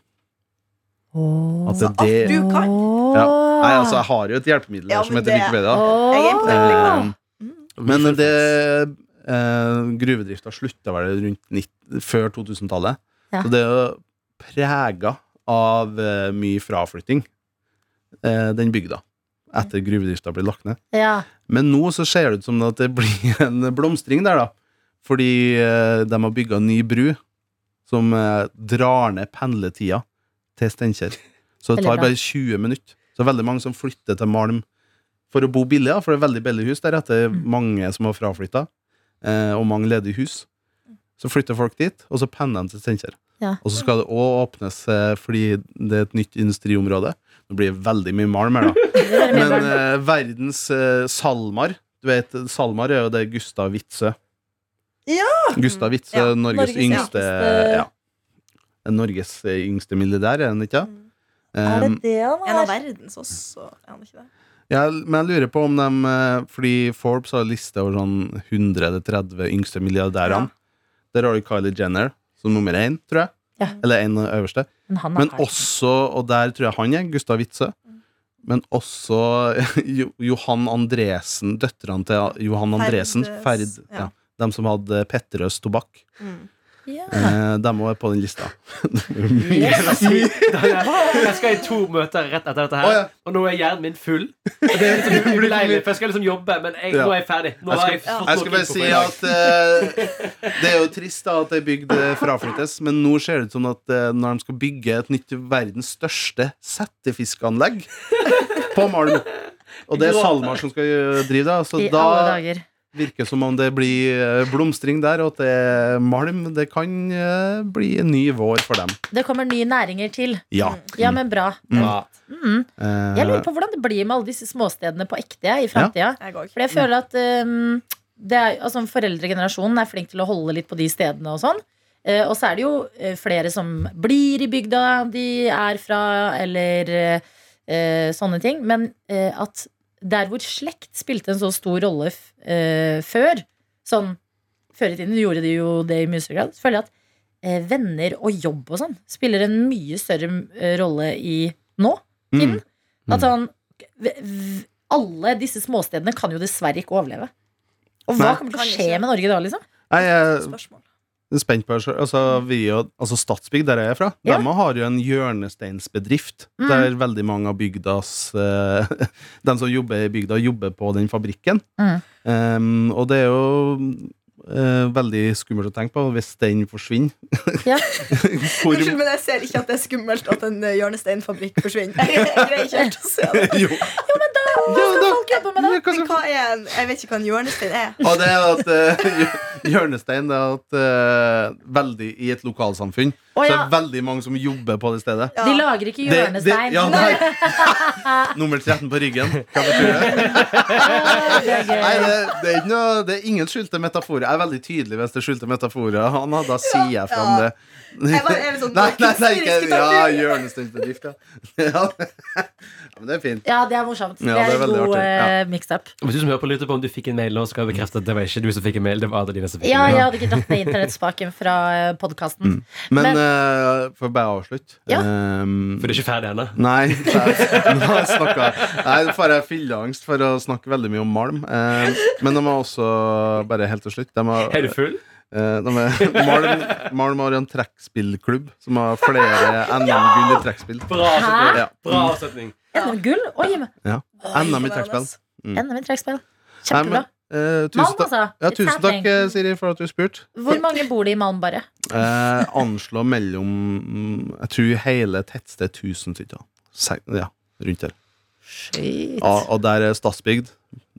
Speaker 2: Åh.
Speaker 3: At det, det
Speaker 4: Du kan.
Speaker 3: ja. Nei, altså, jeg har jo et hjelpemiddel
Speaker 4: Ja,
Speaker 3: her som
Speaker 4: men
Speaker 3: heter
Speaker 4: det-
Speaker 3: Wikipedia.
Speaker 2: Åh.
Speaker 4: Jeg er imponert.
Speaker 3: Eh, Men det eh, Gruvedrifta slutta vel rundt 90, før 2000-tallet.
Speaker 2: Ja.
Speaker 3: Så det er jo prega av eh, mye fraflytting, eh, den bygda, etter gruvedrifta ble lagt ned.
Speaker 2: Ja.
Speaker 3: Men nå så ser det ut som at det blir en blomstring der, da. Fordi eh, de har bygga ny bru som eh, drar ned pendletida til Steinkjer. Så det
Speaker 2: Veldig
Speaker 3: tar
Speaker 2: bra.
Speaker 3: bare 20 minutter. Så det er veldig mange som flytter til Malm for å bo billig, da, for det er veldig billig hus der etter
Speaker 2: Mm.
Speaker 3: mange som har fraflytta, eh, og mange ledige hus. Så flytter folk dit, og så pendler de til Steinkjer.
Speaker 2: Ja.
Speaker 3: Og så skal det òg åpnes eh, fordi det er et nytt industriområde. Nå blir det veldig mye malm her, da. Men eh, verdens eh, Salmar Du vet, Salmar er jo det Gustav Witzøe.
Speaker 4: Ja!
Speaker 3: Gustav Witzøe,
Speaker 4: Ja,
Speaker 3: Norges,
Speaker 4: Norges
Speaker 3: yngste
Speaker 2: rikeste-
Speaker 3: ja. Norges eh, yngste milliardær, er han ikke? Um,
Speaker 2: det han
Speaker 4: Mm. En av verdens også. Er han ikke det?
Speaker 3: ja, men jeg lurer på om de eh, Fordi Forbes har liste over sånn 130 yngste milliardærene. Der har du Kylie Jenner som nummer én, tror jeg.
Speaker 2: Ja.
Speaker 4: Mm.
Speaker 3: Eller en av de øverste.
Speaker 2: Men han er
Speaker 3: Men
Speaker 2: her.
Speaker 3: også, og der tror jeg han er, Gustav Witzøe.
Speaker 2: Mm.
Speaker 3: Men også Jo- Johan Andresen, døtrene til Johan Andresen,
Speaker 2: eh,
Speaker 3: Ferd,
Speaker 4: Ferdes,
Speaker 3: ja.
Speaker 4: ja.
Speaker 3: dem som hadde Petterøes tobakk.
Speaker 2: Ja.
Speaker 3: Eh, dem òg er på den lista. Mye
Speaker 5: Jeg skal i to møter rett etter dette
Speaker 3: Å,
Speaker 5: her,
Speaker 3: ja.
Speaker 5: og nå er hjernen min full. Det er liksom ubeleilig, for jeg skal liksom jobbe, men jeg,
Speaker 3: Ja.
Speaker 5: nå er jeg ferdig. Nå
Speaker 3: Jeg
Speaker 5: har
Speaker 3: skal-
Speaker 5: jeg fått
Speaker 3: Jeg skal
Speaker 5: nok
Speaker 3: bare
Speaker 5: info
Speaker 3: si
Speaker 5: for i dag.
Speaker 3: at eh, det er jo trist da at ei bygd eh, fraflyttes, men nå ser det ut som at eh, når de skal bygge et nytt verdens største settefiskanlegg på Malm Og det er SalMar som skal eh, drive det, så
Speaker 2: I alle
Speaker 3: da
Speaker 2: dager.
Speaker 3: virker som om det blir eh, blomstring der, og at det er Malm. Det kan eh, bli en ny vår for dem.
Speaker 2: Det kommer nye næringer til.
Speaker 3: Ja.
Speaker 2: Mm. Ja, men bra.
Speaker 3: Mm.
Speaker 5: Ja.
Speaker 3: Eh,
Speaker 2: Jeg lurer på hvordan det blir med alle disse småstedene på ekte jeg, i framtida.
Speaker 4: Jeg går
Speaker 2: For jeg føler at um, det er, altså, foreldregenerasjonen er flink til å holde litt på de stedene og sånn. Eh, og så er det jo eh, flere som blir i bygda de er fra, eller eh, sånne ting. Men eh, at der hvor slekt spilte en så stor rolle f eh, før, sånn før i tiden gjorde de jo det i mye større grad, så føler jeg at eh, venner og jobb og sånn spiller en mye større eh, rolle i nå.
Speaker 3: mm.
Speaker 2: Tiden. At sånn v- v- Alle disse småstedene kan jo dessverre ikke overleve. Og hva
Speaker 3: Nei.
Speaker 2: kommer til å
Speaker 4: Kan
Speaker 2: skje
Speaker 4: ikke.
Speaker 2: med Norge da, liksom?
Speaker 3: Nei, jeg
Speaker 4: Spørsmål.
Speaker 3: er spent på det selv. altså, vi og, altså Statsbygg, der jeg er fra,
Speaker 2: Ja.
Speaker 3: de har jo en hjørnesteinsbedrift
Speaker 2: Mm.
Speaker 3: der veldig mange av bygdas eh, De som jobber i bygda, jobber på den fabrikken.
Speaker 2: Mm.
Speaker 3: Em, og det er jo eh, veldig skummelt å tenke på hvis den forsvinner.
Speaker 2: Ja.
Speaker 3: Hvor
Speaker 4: Unnskyld, men jeg ser ikke at det er skummelt at en eh, hjørnesteinfabrikk forsvinner. Jeg greier ikke helt å se det.
Speaker 3: Jo, men da
Speaker 2: Folk jobber med det.
Speaker 3: Hva
Speaker 4: Men
Speaker 3: skal-
Speaker 4: hva er en, jeg vet ikke hva en hjørnestein er.
Speaker 3: Og det er at eh, Hjørnestein det er at eh, veldig, I et lokalsamfunn
Speaker 2: Å,
Speaker 3: Så
Speaker 2: ja.
Speaker 3: er det veldig mange som jobber på det stedet.
Speaker 4: Ja.
Speaker 2: De lager ikke
Speaker 3: Det- det-
Speaker 2: hjørnestein.
Speaker 3: ja, nei. Nummer 13 på ryggen. Hva betyr det?
Speaker 2: Det er gøy.
Speaker 3: Nei, det, det, er ikke noe, det er ingen skjulte metaforer. Jeg er veldig tydelig hvis det er skjulte metaforer. Han, da sier jeg fram
Speaker 4: Ja.
Speaker 3: det.
Speaker 4: Jeg bare er litt sånn
Speaker 3: Nei, nei, nei, ikke,
Speaker 4: kunstnerisk
Speaker 3: ja,
Speaker 4: tanker.
Speaker 3: hjørnesteinsbedrift, ja. ja. Men det er fint.
Speaker 2: Ja, det er morsomt. det
Speaker 3: Ja,
Speaker 2: er,
Speaker 3: det er
Speaker 2: en
Speaker 3: veldig
Speaker 2: god
Speaker 3: artig. Ja.
Speaker 2: eh, mix-up.
Speaker 5: Hvis du som hører på lurer på om du fikk en mail nå, skal jeg bekrefte at det var ikke du som fikk en mail. Det var Adeline som fikk en
Speaker 2: Ja,
Speaker 5: mail.
Speaker 2: jeg hadde ikke dratt ned internettspaken fra eh, podkasten.
Speaker 3: Men,
Speaker 2: Men-
Speaker 3: eh, for bare å avslutte
Speaker 2: Ja.
Speaker 3: ehm,
Speaker 5: For du er ikke ferdig ennå.
Speaker 3: Nei, jeg- nå har jeg snakket Nei, nå får jeg fylleangst for å snakke veldig mye om malm. Eh, men de har også, bare helt til slutt De har,
Speaker 5: Er du full?
Speaker 3: Eh, de er, Malm, Malm har en trekkspillklubb som har flere NM-gull i trekkspill.
Speaker 5: Bra avslutning.
Speaker 3: Ja.
Speaker 5: Bra avslutning.
Speaker 2: NM-gull? Oi, men
Speaker 3: NM i trekkspill.
Speaker 2: NM i trekkspill.
Speaker 3: Nei,
Speaker 2: Kjempebra.
Speaker 3: men Eh,
Speaker 2: Malm,
Speaker 3: tusen, takk-
Speaker 2: altså.
Speaker 3: ja,
Speaker 2: It's
Speaker 3: tusen takk,
Speaker 2: happening.
Speaker 3: eh, Siri, for at du spurte.
Speaker 2: Hvor mange bor det i Malm, bare?
Speaker 3: Eh, anslå mellom mm, Jeg tror hele tettstedet 1000 stykker. Se- Ja, rundt der.
Speaker 2: Shit.
Speaker 3: Ja, og der er Stadsbygd.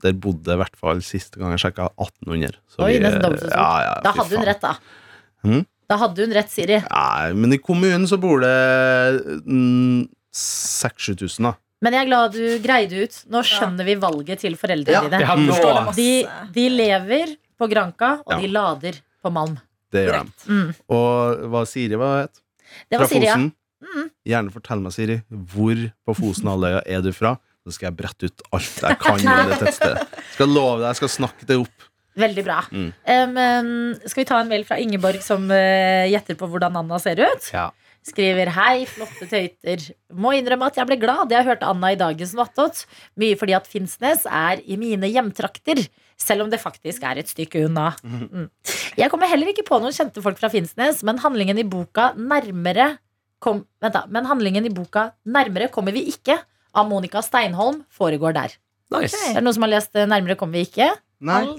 Speaker 3: Der bodde det i hvert fall siste gang jeg sjekka 1800. Så
Speaker 2: Oi,
Speaker 3: vi-
Speaker 2: nesten dobbelt så stort.
Speaker 3: Ja, ja,
Speaker 2: Da
Speaker 3: fy
Speaker 2: hadde hun
Speaker 3: faen.
Speaker 2: rett, da.
Speaker 3: Mhm.
Speaker 2: Da hadde hun rett, Siri.
Speaker 3: Nei, men i kommunen så bor det mm, 6000-7000, da.
Speaker 2: Men jeg er glad du greide ut. Nå skjønner vi valget til foreldrene
Speaker 4: Ja.
Speaker 2: dine.
Speaker 5: Ja,
Speaker 3: Mm.
Speaker 5: nå.
Speaker 4: Står det masse-
Speaker 2: De, de lever på Granka, og
Speaker 3: Ja.
Speaker 2: de lader på Malm.
Speaker 3: Det gjør de.
Speaker 4: Korrekt.
Speaker 2: Mm.
Speaker 3: Og hva Siri hva het?
Speaker 2: Det var Siri, ja. Mm.
Speaker 3: Gjerne fortell meg, Siri, hvor på Fosenhalvøya er du fra? Så skal jeg brette ut alt jeg kan om det tettstedet. Skal love deg, jeg skal snakke det opp.
Speaker 2: Veldig bra.
Speaker 3: Mm.
Speaker 2: Em, em, skal vi ta en mail fra Ingeborg som eh, gjetter på hvordan Anna ser ut?
Speaker 5: Ja.
Speaker 2: Skriver hei, flotte tøyter. Må innrømme at jeg ble glad da jeg hørte Anna i dagens Vattot. Mye fordi at Finnsnes er i mine hjemtrakter. Selv om det faktisk er et stykke unna.
Speaker 5: Mm-hmm.
Speaker 2: Mm. Jeg kommer heller ikke på noen kjente folk fra Finnsnes, men handlingen i boka nærmere kom, vent da, men handlingen i boka Nærmere kommer vi ikke av Monica Steinholm foregår der.
Speaker 5: Nice.
Speaker 2: Er det noen som har lest eh, Nærmere kommer vi ikke?
Speaker 3: Nei.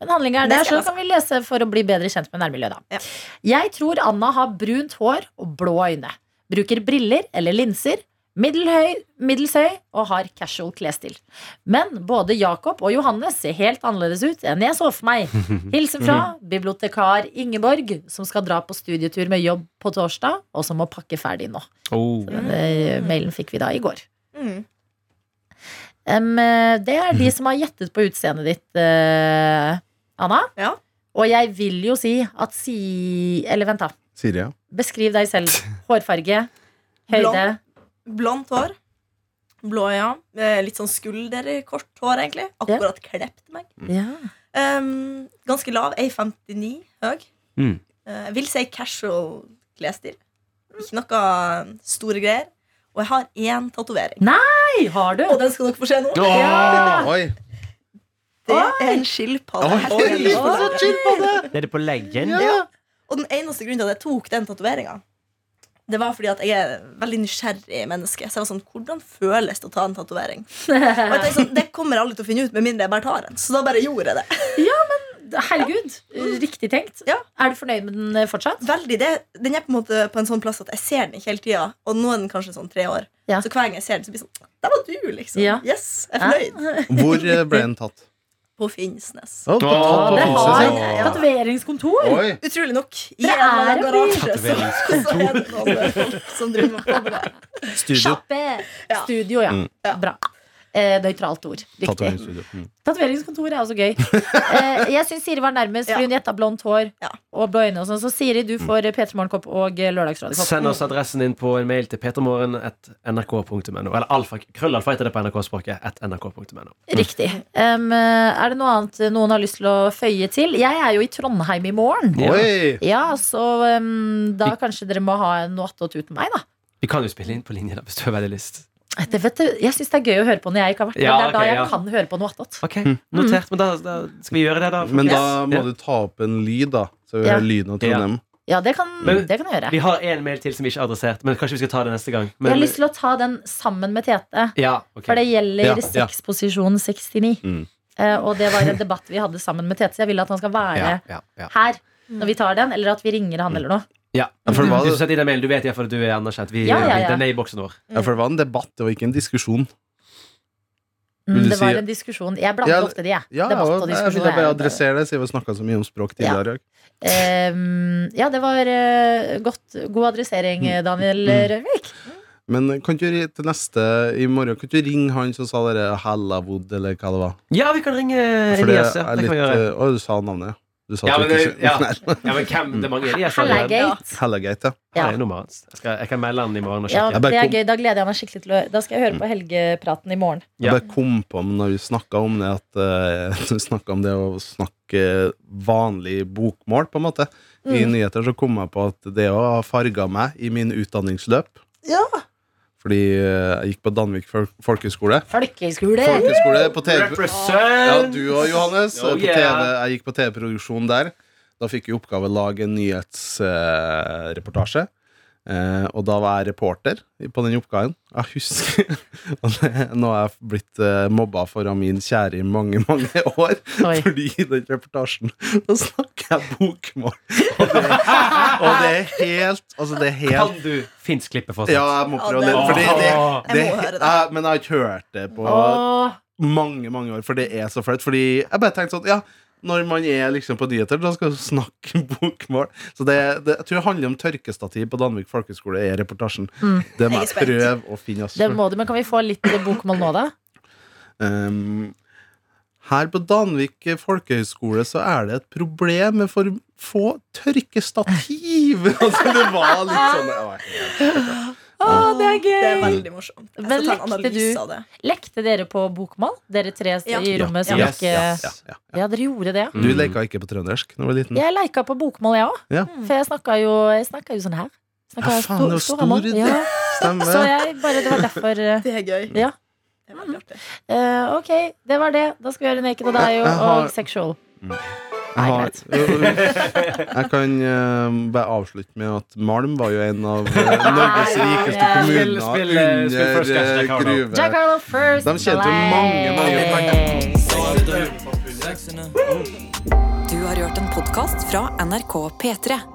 Speaker 2: Men handlinga er
Speaker 4: Det
Speaker 2: der, så
Speaker 4: skal jeg
Speaker 2: kan vi lese for å bli bedre kjent med nærmiljøet. da.
Speaker 4: Ja.
Speaker 2: Jeg tror Anna har brunt hår og blå øyne. Bruker briller eller linser. Middelhøy, middels høy og har casual klesstil. Men både Jakob og Johannes ser helt annerledes ut enn jeg så for meg. Hilsen fra bibliotekar Ingeborg, som skal dra på studietur med jobb på torsdag, og som må pakke ferdig nå.
Speaker 5: Oh.
Speaker 2: Den eh, mailen fikk vi da i går.
Speaker 4: Mm.
Speaker 2: Em, eh, det er de som har gjettet på utseendet ditt, eh, Anna.
Speaker 4: Ja.
Speaker 2: Og jeg vil jo si at si Eller vent, da.
Speaker 3: Siri, ja.
Speaker 2: Beskriv deg selv. Hårfarge, høyde.
Speaker 4: Blondt hår. Blå øyne. eh, Litt sånn skulderkort hår, egentlig. Akkurat klept meg.
Speaker 2: Ja.
Speaker 4: Um, ganske lav. 1,59 høy.
Speaker 5: Mm.
Speaker 4: Eh, vil si casual klesstil. Ikke noe store greier. Og jeg har én tatovering.
Speaker 2: Hei, har du?
Speaker 4: Og den skal dere få se nå.
Speaker 5: Åh!
Speaker 2: Ja.
Speaker 3: Oi.
Speaker 4: Det er en skilpadde.
Speaker 3: Oi.
Speaker 4: Og en
Speaker 3: Så
Speaker 4: skilpadde.
Speaker 5: Det er det på leggen?
Speaker 4: Ja. Og den eneste grunnen til at jeg tok den tatoveringa, det var fordi at jeg er veldig nysgjerrig menneske. Så jeg var sånn, Hvordan føles det å ta en tatovering? Og jeg tenkte sånn, Det kommer alle til å finne ut med mindre jeg bare tar en. Så da bare gjorde jeg det.
Speaker 2: Herregud, riktig tenkt.
Speaker 4: Ja.
Speaker 2: Er du fornøyd med den eh, fortsatt?
Speaker 4: Veldig det, Den er på en måte på en sånn plass at jeg ser den ikke hele tida. Og nå er den kanskje sånn tre år.
Speaker 2: Ja.
Speaker 4: Så hver gang jeg ser den, så blir det sånn Der var du, liksom.
Speaker 2: Ja.
Speaker 4: Yes, jeg er fornøyd.
Speaker 3: Hvor eh, ble den tatt?
Speaker 4: På Finnsnes.
Speaker 3: Oh,
Speaker 5: Åh,
Speaker 2: Det
Speaker 5: Finnsnes,
Speaker 2: har
Speaker 5: ja.
Speaker 2: tatoveringskontor!
Speaker 3: Oi.
Speaker 4: Utrolig nok. I
Speaker 2: Det
Speaker 4: en eller annen
Speaker 2: er en
Speaker 4: garasje. Så, så er det noen folk som driver med tatovering.
Speaker 3: Studio.
Speaker 2: Sjappe!
Speaker 4: Ja.
Speaker 2: Studio, ja.
Speaker 3: Mm.
Speaker 4: Ja.
Speaker 2: Bra. Eh, nøytralt ord. Riktig.
Speaker 3: Tatoveringsstudio. Mm.
Speaker 2: Tatoveringskontor er også gøy. Eh, jeg syns Siri var nærmest, for
Speaker 4: Ja.
Speaker 2: hun gjetta blondt hår
Speaker 4: Ja.
Speaker 2: og blå øyne. og sånn Så Siri, du får P3 Morgenkopp og eh, Lørdagsrådet.
Speaker 5: Mm. Send oss adressen din på en mail til petermorgen.nrk.no. Eller alfa, krøllalfa heter det på NRK-språket. at nrk.no
Speaker 2: Riktig. Em, eh, er det noe annet noen har lyst til å føye til? Jeg er jo i Trondheim i morgen.
Speaker 5: Ja.
Speaker 3: Oi.
Speaker 2: Ja, så em, da kanskje dere må ha noe attåt uten meg, da. Eh,
Speaker 5: Vi kan jo spille inn på linje da, hvis du har veldig lyst.
Speaker 2: Det vet du, jeg syns det er gøy å høre på når jeg ikke har vært der.
Speaker 5: Ja,
Speaker 2: det er da
Speaker 5: ok,
Speaker 2: jeg
Speaker 5: ja.
Speaker 2: kan høre på noe attåt.
Speaker 5: Ok, Notert. Men da, da skal vi gjøre det, da.
Speaker 3: Hmm. Men da
Speaker 5: folkens.
Speaker 3: må
Speaker 5: Ja.
Speaker 3: du ta opp en lyd, da. Så vi
Speaker 2: Ja.
Speaker 3: hører lyden av Trondheim.
Speaker 2: Ja, det kan,
Speaker 5: Men-
Speaker 2: det kan jeg gjøre.
Speaker 5: Vi har én mail til som vi ikke har adressert, men kanskje vi skal ta det neste gang.
Speaker 2: Jeg
Speaker 5: Men,
Speaker 2: har lyst til å ta den sammen med Tete.
Speaker 5: ja, ok.
Speaker 2: For det gjelder
Speaker 3: Ja, ja.
Speaker 2: sexposisjon 69.
Speaker 3: Mm.
Speaker 2: Eh, og det var en debatt vi hadde sammen med Tete. Så jeg vil at han skal være
Speaker 5: ja, ja, ja.
Speaker 2: her når vi tar den, eller at vi ringer
Speaker 3: Mm.
Speaker 2: han eller noe.
Speaker 5: ja.
Speaker 3: Ja, for det var-
Speaker 5: Du som setter i den mailen, du vet iallfall at du er anerkjent. Vi,
Speaker 2: Ja, ja, ja.
Speaker 5: vi- Den er i boksen vår.
Speaker 3: Ja, for det var en debatt, det var ikke en diskusjon.
Speaker 2: Mm,
Speaker 3: Vil du
Speaker 2: det var
Speaker 3: si-
Speaker 2: en diskusjon. Jeg blander
Speaker 3: Ja,
Speaker 2: ofte de, jeg.
Speaker 3: Ja,
Speaker 2: Debatt
Speaker 3: og
Speaker 2: og
Speaker 3: jeg jeg
Speaker 2: diskusjon
Speaker 3: ville bare
Speaker 2: er-
Speaker 3: adressere det, siden vi snakka så mye om språk tidligere i dag.
Speaker 2: Ehm, ja, det var eh, godt, god adressering,
Speaker 3: Mm.
Speaker 2: eh, Daniel eh, Rørvik.
Speaker 3: Men eh, kan ikke du ri- til neste i morgen Kan ikke du ringe han som sa det Hallavod, eller hva det var?
Speaker 5: Ja, vi kan ringe
Speaker 3: For det
Speaker 5: Elias. Ja, det
Speaker 3: er litt
Speaker 5: kan vi gjøre.
Speaker 3: eh, Å, du sa navnet, ja. Du sa
Speaker 5: Ja, men,
Speaker 3: Tyrkisk.
Speaker 5: ja.
Speaker 3: Nei,
Speaker 5: Ja, men hvem? Det er mange Elias.
Speaker 2: Hallagate.
Speaker 3: Hallagate, ja.
Speaker 5: Ja. Det er nummeret hans. Jeg, skal- jeg kan melde han i morgen og
Speaker 2: Ja,
Speaker 5: sjekke.
Speaker 3: bare Mm.
Speaker 2: det er
Speaker 3: kom-
Speaker 2: gøy. Da gleder jeg meg skikkelig til å Da skal jeg høre på helgepraten i morgen.
Speaker 5: Ja.
Speaker 3: Jeg bare kom på når vi snakka om det, at eh, når vi snakket om det å snakke vanlig bokmål, på en måte, i nyheter, så kom jeg på at det òg farga meg i min utdanningsløp.
Speaker 4: Ja.
Speaker 3: Fordi eh, jeg gikk på Danvik fol- folkehøgskole.
Speaker 2: Folkehøyskole!
Speaker 3: Folkehøgskole på TV. Ja,
Speaker 5: Represent!
Speaker 3: du og Johannes.
Speaker 5: Oh,
Speaker 3: eh, på
Speaker 5: yeah.
Speaker 3: TV, jeg gikk på TV-produksjon der. Da fikk vi i oppgave å lage en nyhetsreportasje. Eh, og da var jeg reporter på den oppgaven. Jeg husker og det, Nå har jeg blitt eh, mobba foran min kjære i mange, mange år.
Speaker 2: Oi.
Speaker 3: Fordi i den reportasjen Da snakker jeg bokmål. Og det, og det er helt Altså, det er helt
Speaker 5: Kan du finsk klippe for
Speaker 3: Ja, jeg må prøve
Speaker 4: Ja,
Speaker 3: det.
Speaker 4: det-
Speaker 3: Fordi det,
Speaker 5: Åh.
Speaker 3: det,
Speaker 4: Jeg må høre det.
Speaker 3: jeg- men jeg har ikke hørt det på
Speaker 2: Åh,
Speaker 3: mange mange år, for det er så flaut. Fordi jeg bare tenkte sånn, ja, når man er liksom på nyheter, da skal du snakke bokmål. Så det, det, jeg tror det handler om tørkestativ på Danvik folkeskole, er reportasjen.
Speaker 2: Mm.
Speaker 3: Det må
Speaker 4: Jeg er
Speaker 3: jeg
Speaker 4: spent.
Speaker 3: prøve å finne. altså. ass.
Speaker 2: det må du, men kan vi få litt bokmål nå, da?
Speaker 3: Um, her på Danvik folkehøgskole så er det et problem med for få tørkestativ! altså, det var litt sånn jeg var helt-
Speaker 2: Å, det er
Speaker 4: Det er
Speaker 2: gøy!
Speaker 4: veldig morsomt. Jeg
Speaker 2: Men
Speaker 4: skal ta en
Speaker 2: likte
Speaker 4: analyse
Speaker 2: du-
Speaker 4: av det.
Speaker 2: Lekte dere på bokmål? Dere tre
Speaker 4: Ja.
Speaker 2: i rommet som
Speaker 5: Ja.
Speaker 2: ikke
Speaker 3: Ja, ja, ja.
Speaker 2: Ja, dere gjorde det.
Speaker 3: Du leka ikke på trøndersk da du var liten?
Speaker 2: Jeg leika på bokmål, jeg òg.
Speaker 3: Ja.
Speaker 2: For jeg snakka jo, jeg snakket jo sånn her. Snakket
Speaker 3: Ja, faen, det er jo
Speaker 2: stor- storemål.
Speaker 3: stor idé.
Speaker 2: ja.
Speaker 3: Stemmer.
Speaker 2: Så jeg bare, det var derfor eh,
Speaker 4: Det er gøy.
Speaker 2: Ja.
Speaker 4: Det er veldig artig.
Speaker 2: eh, Ok, det var det. Da skal vi gjøre Naked og deg og,
Speaker 3: Jeg har-
Speaker 2: og Sexual. Nei,
Speaker 3: Jeg, har, jeg kan eh, bare avslutte med at Malm var jo en av eh, Norges
Speaker 2: Ja, ja,
Speaker 3: rikeste
Speaker 2: ja.
Speaker 3: kommuner
Speaker 5: Spill- spill, eh, spill først,
Speaker 3: under eh,
Speaker 5: Jack Harlow.
Speaker 2: Jack
Speaker 3: gruve.
Speaker 2: Harlow first.
Speaker 3: De tjente jo mange, mange
Speaker 2: Play.
Speaker 1: Du har hørt en podkast fra NRK P3.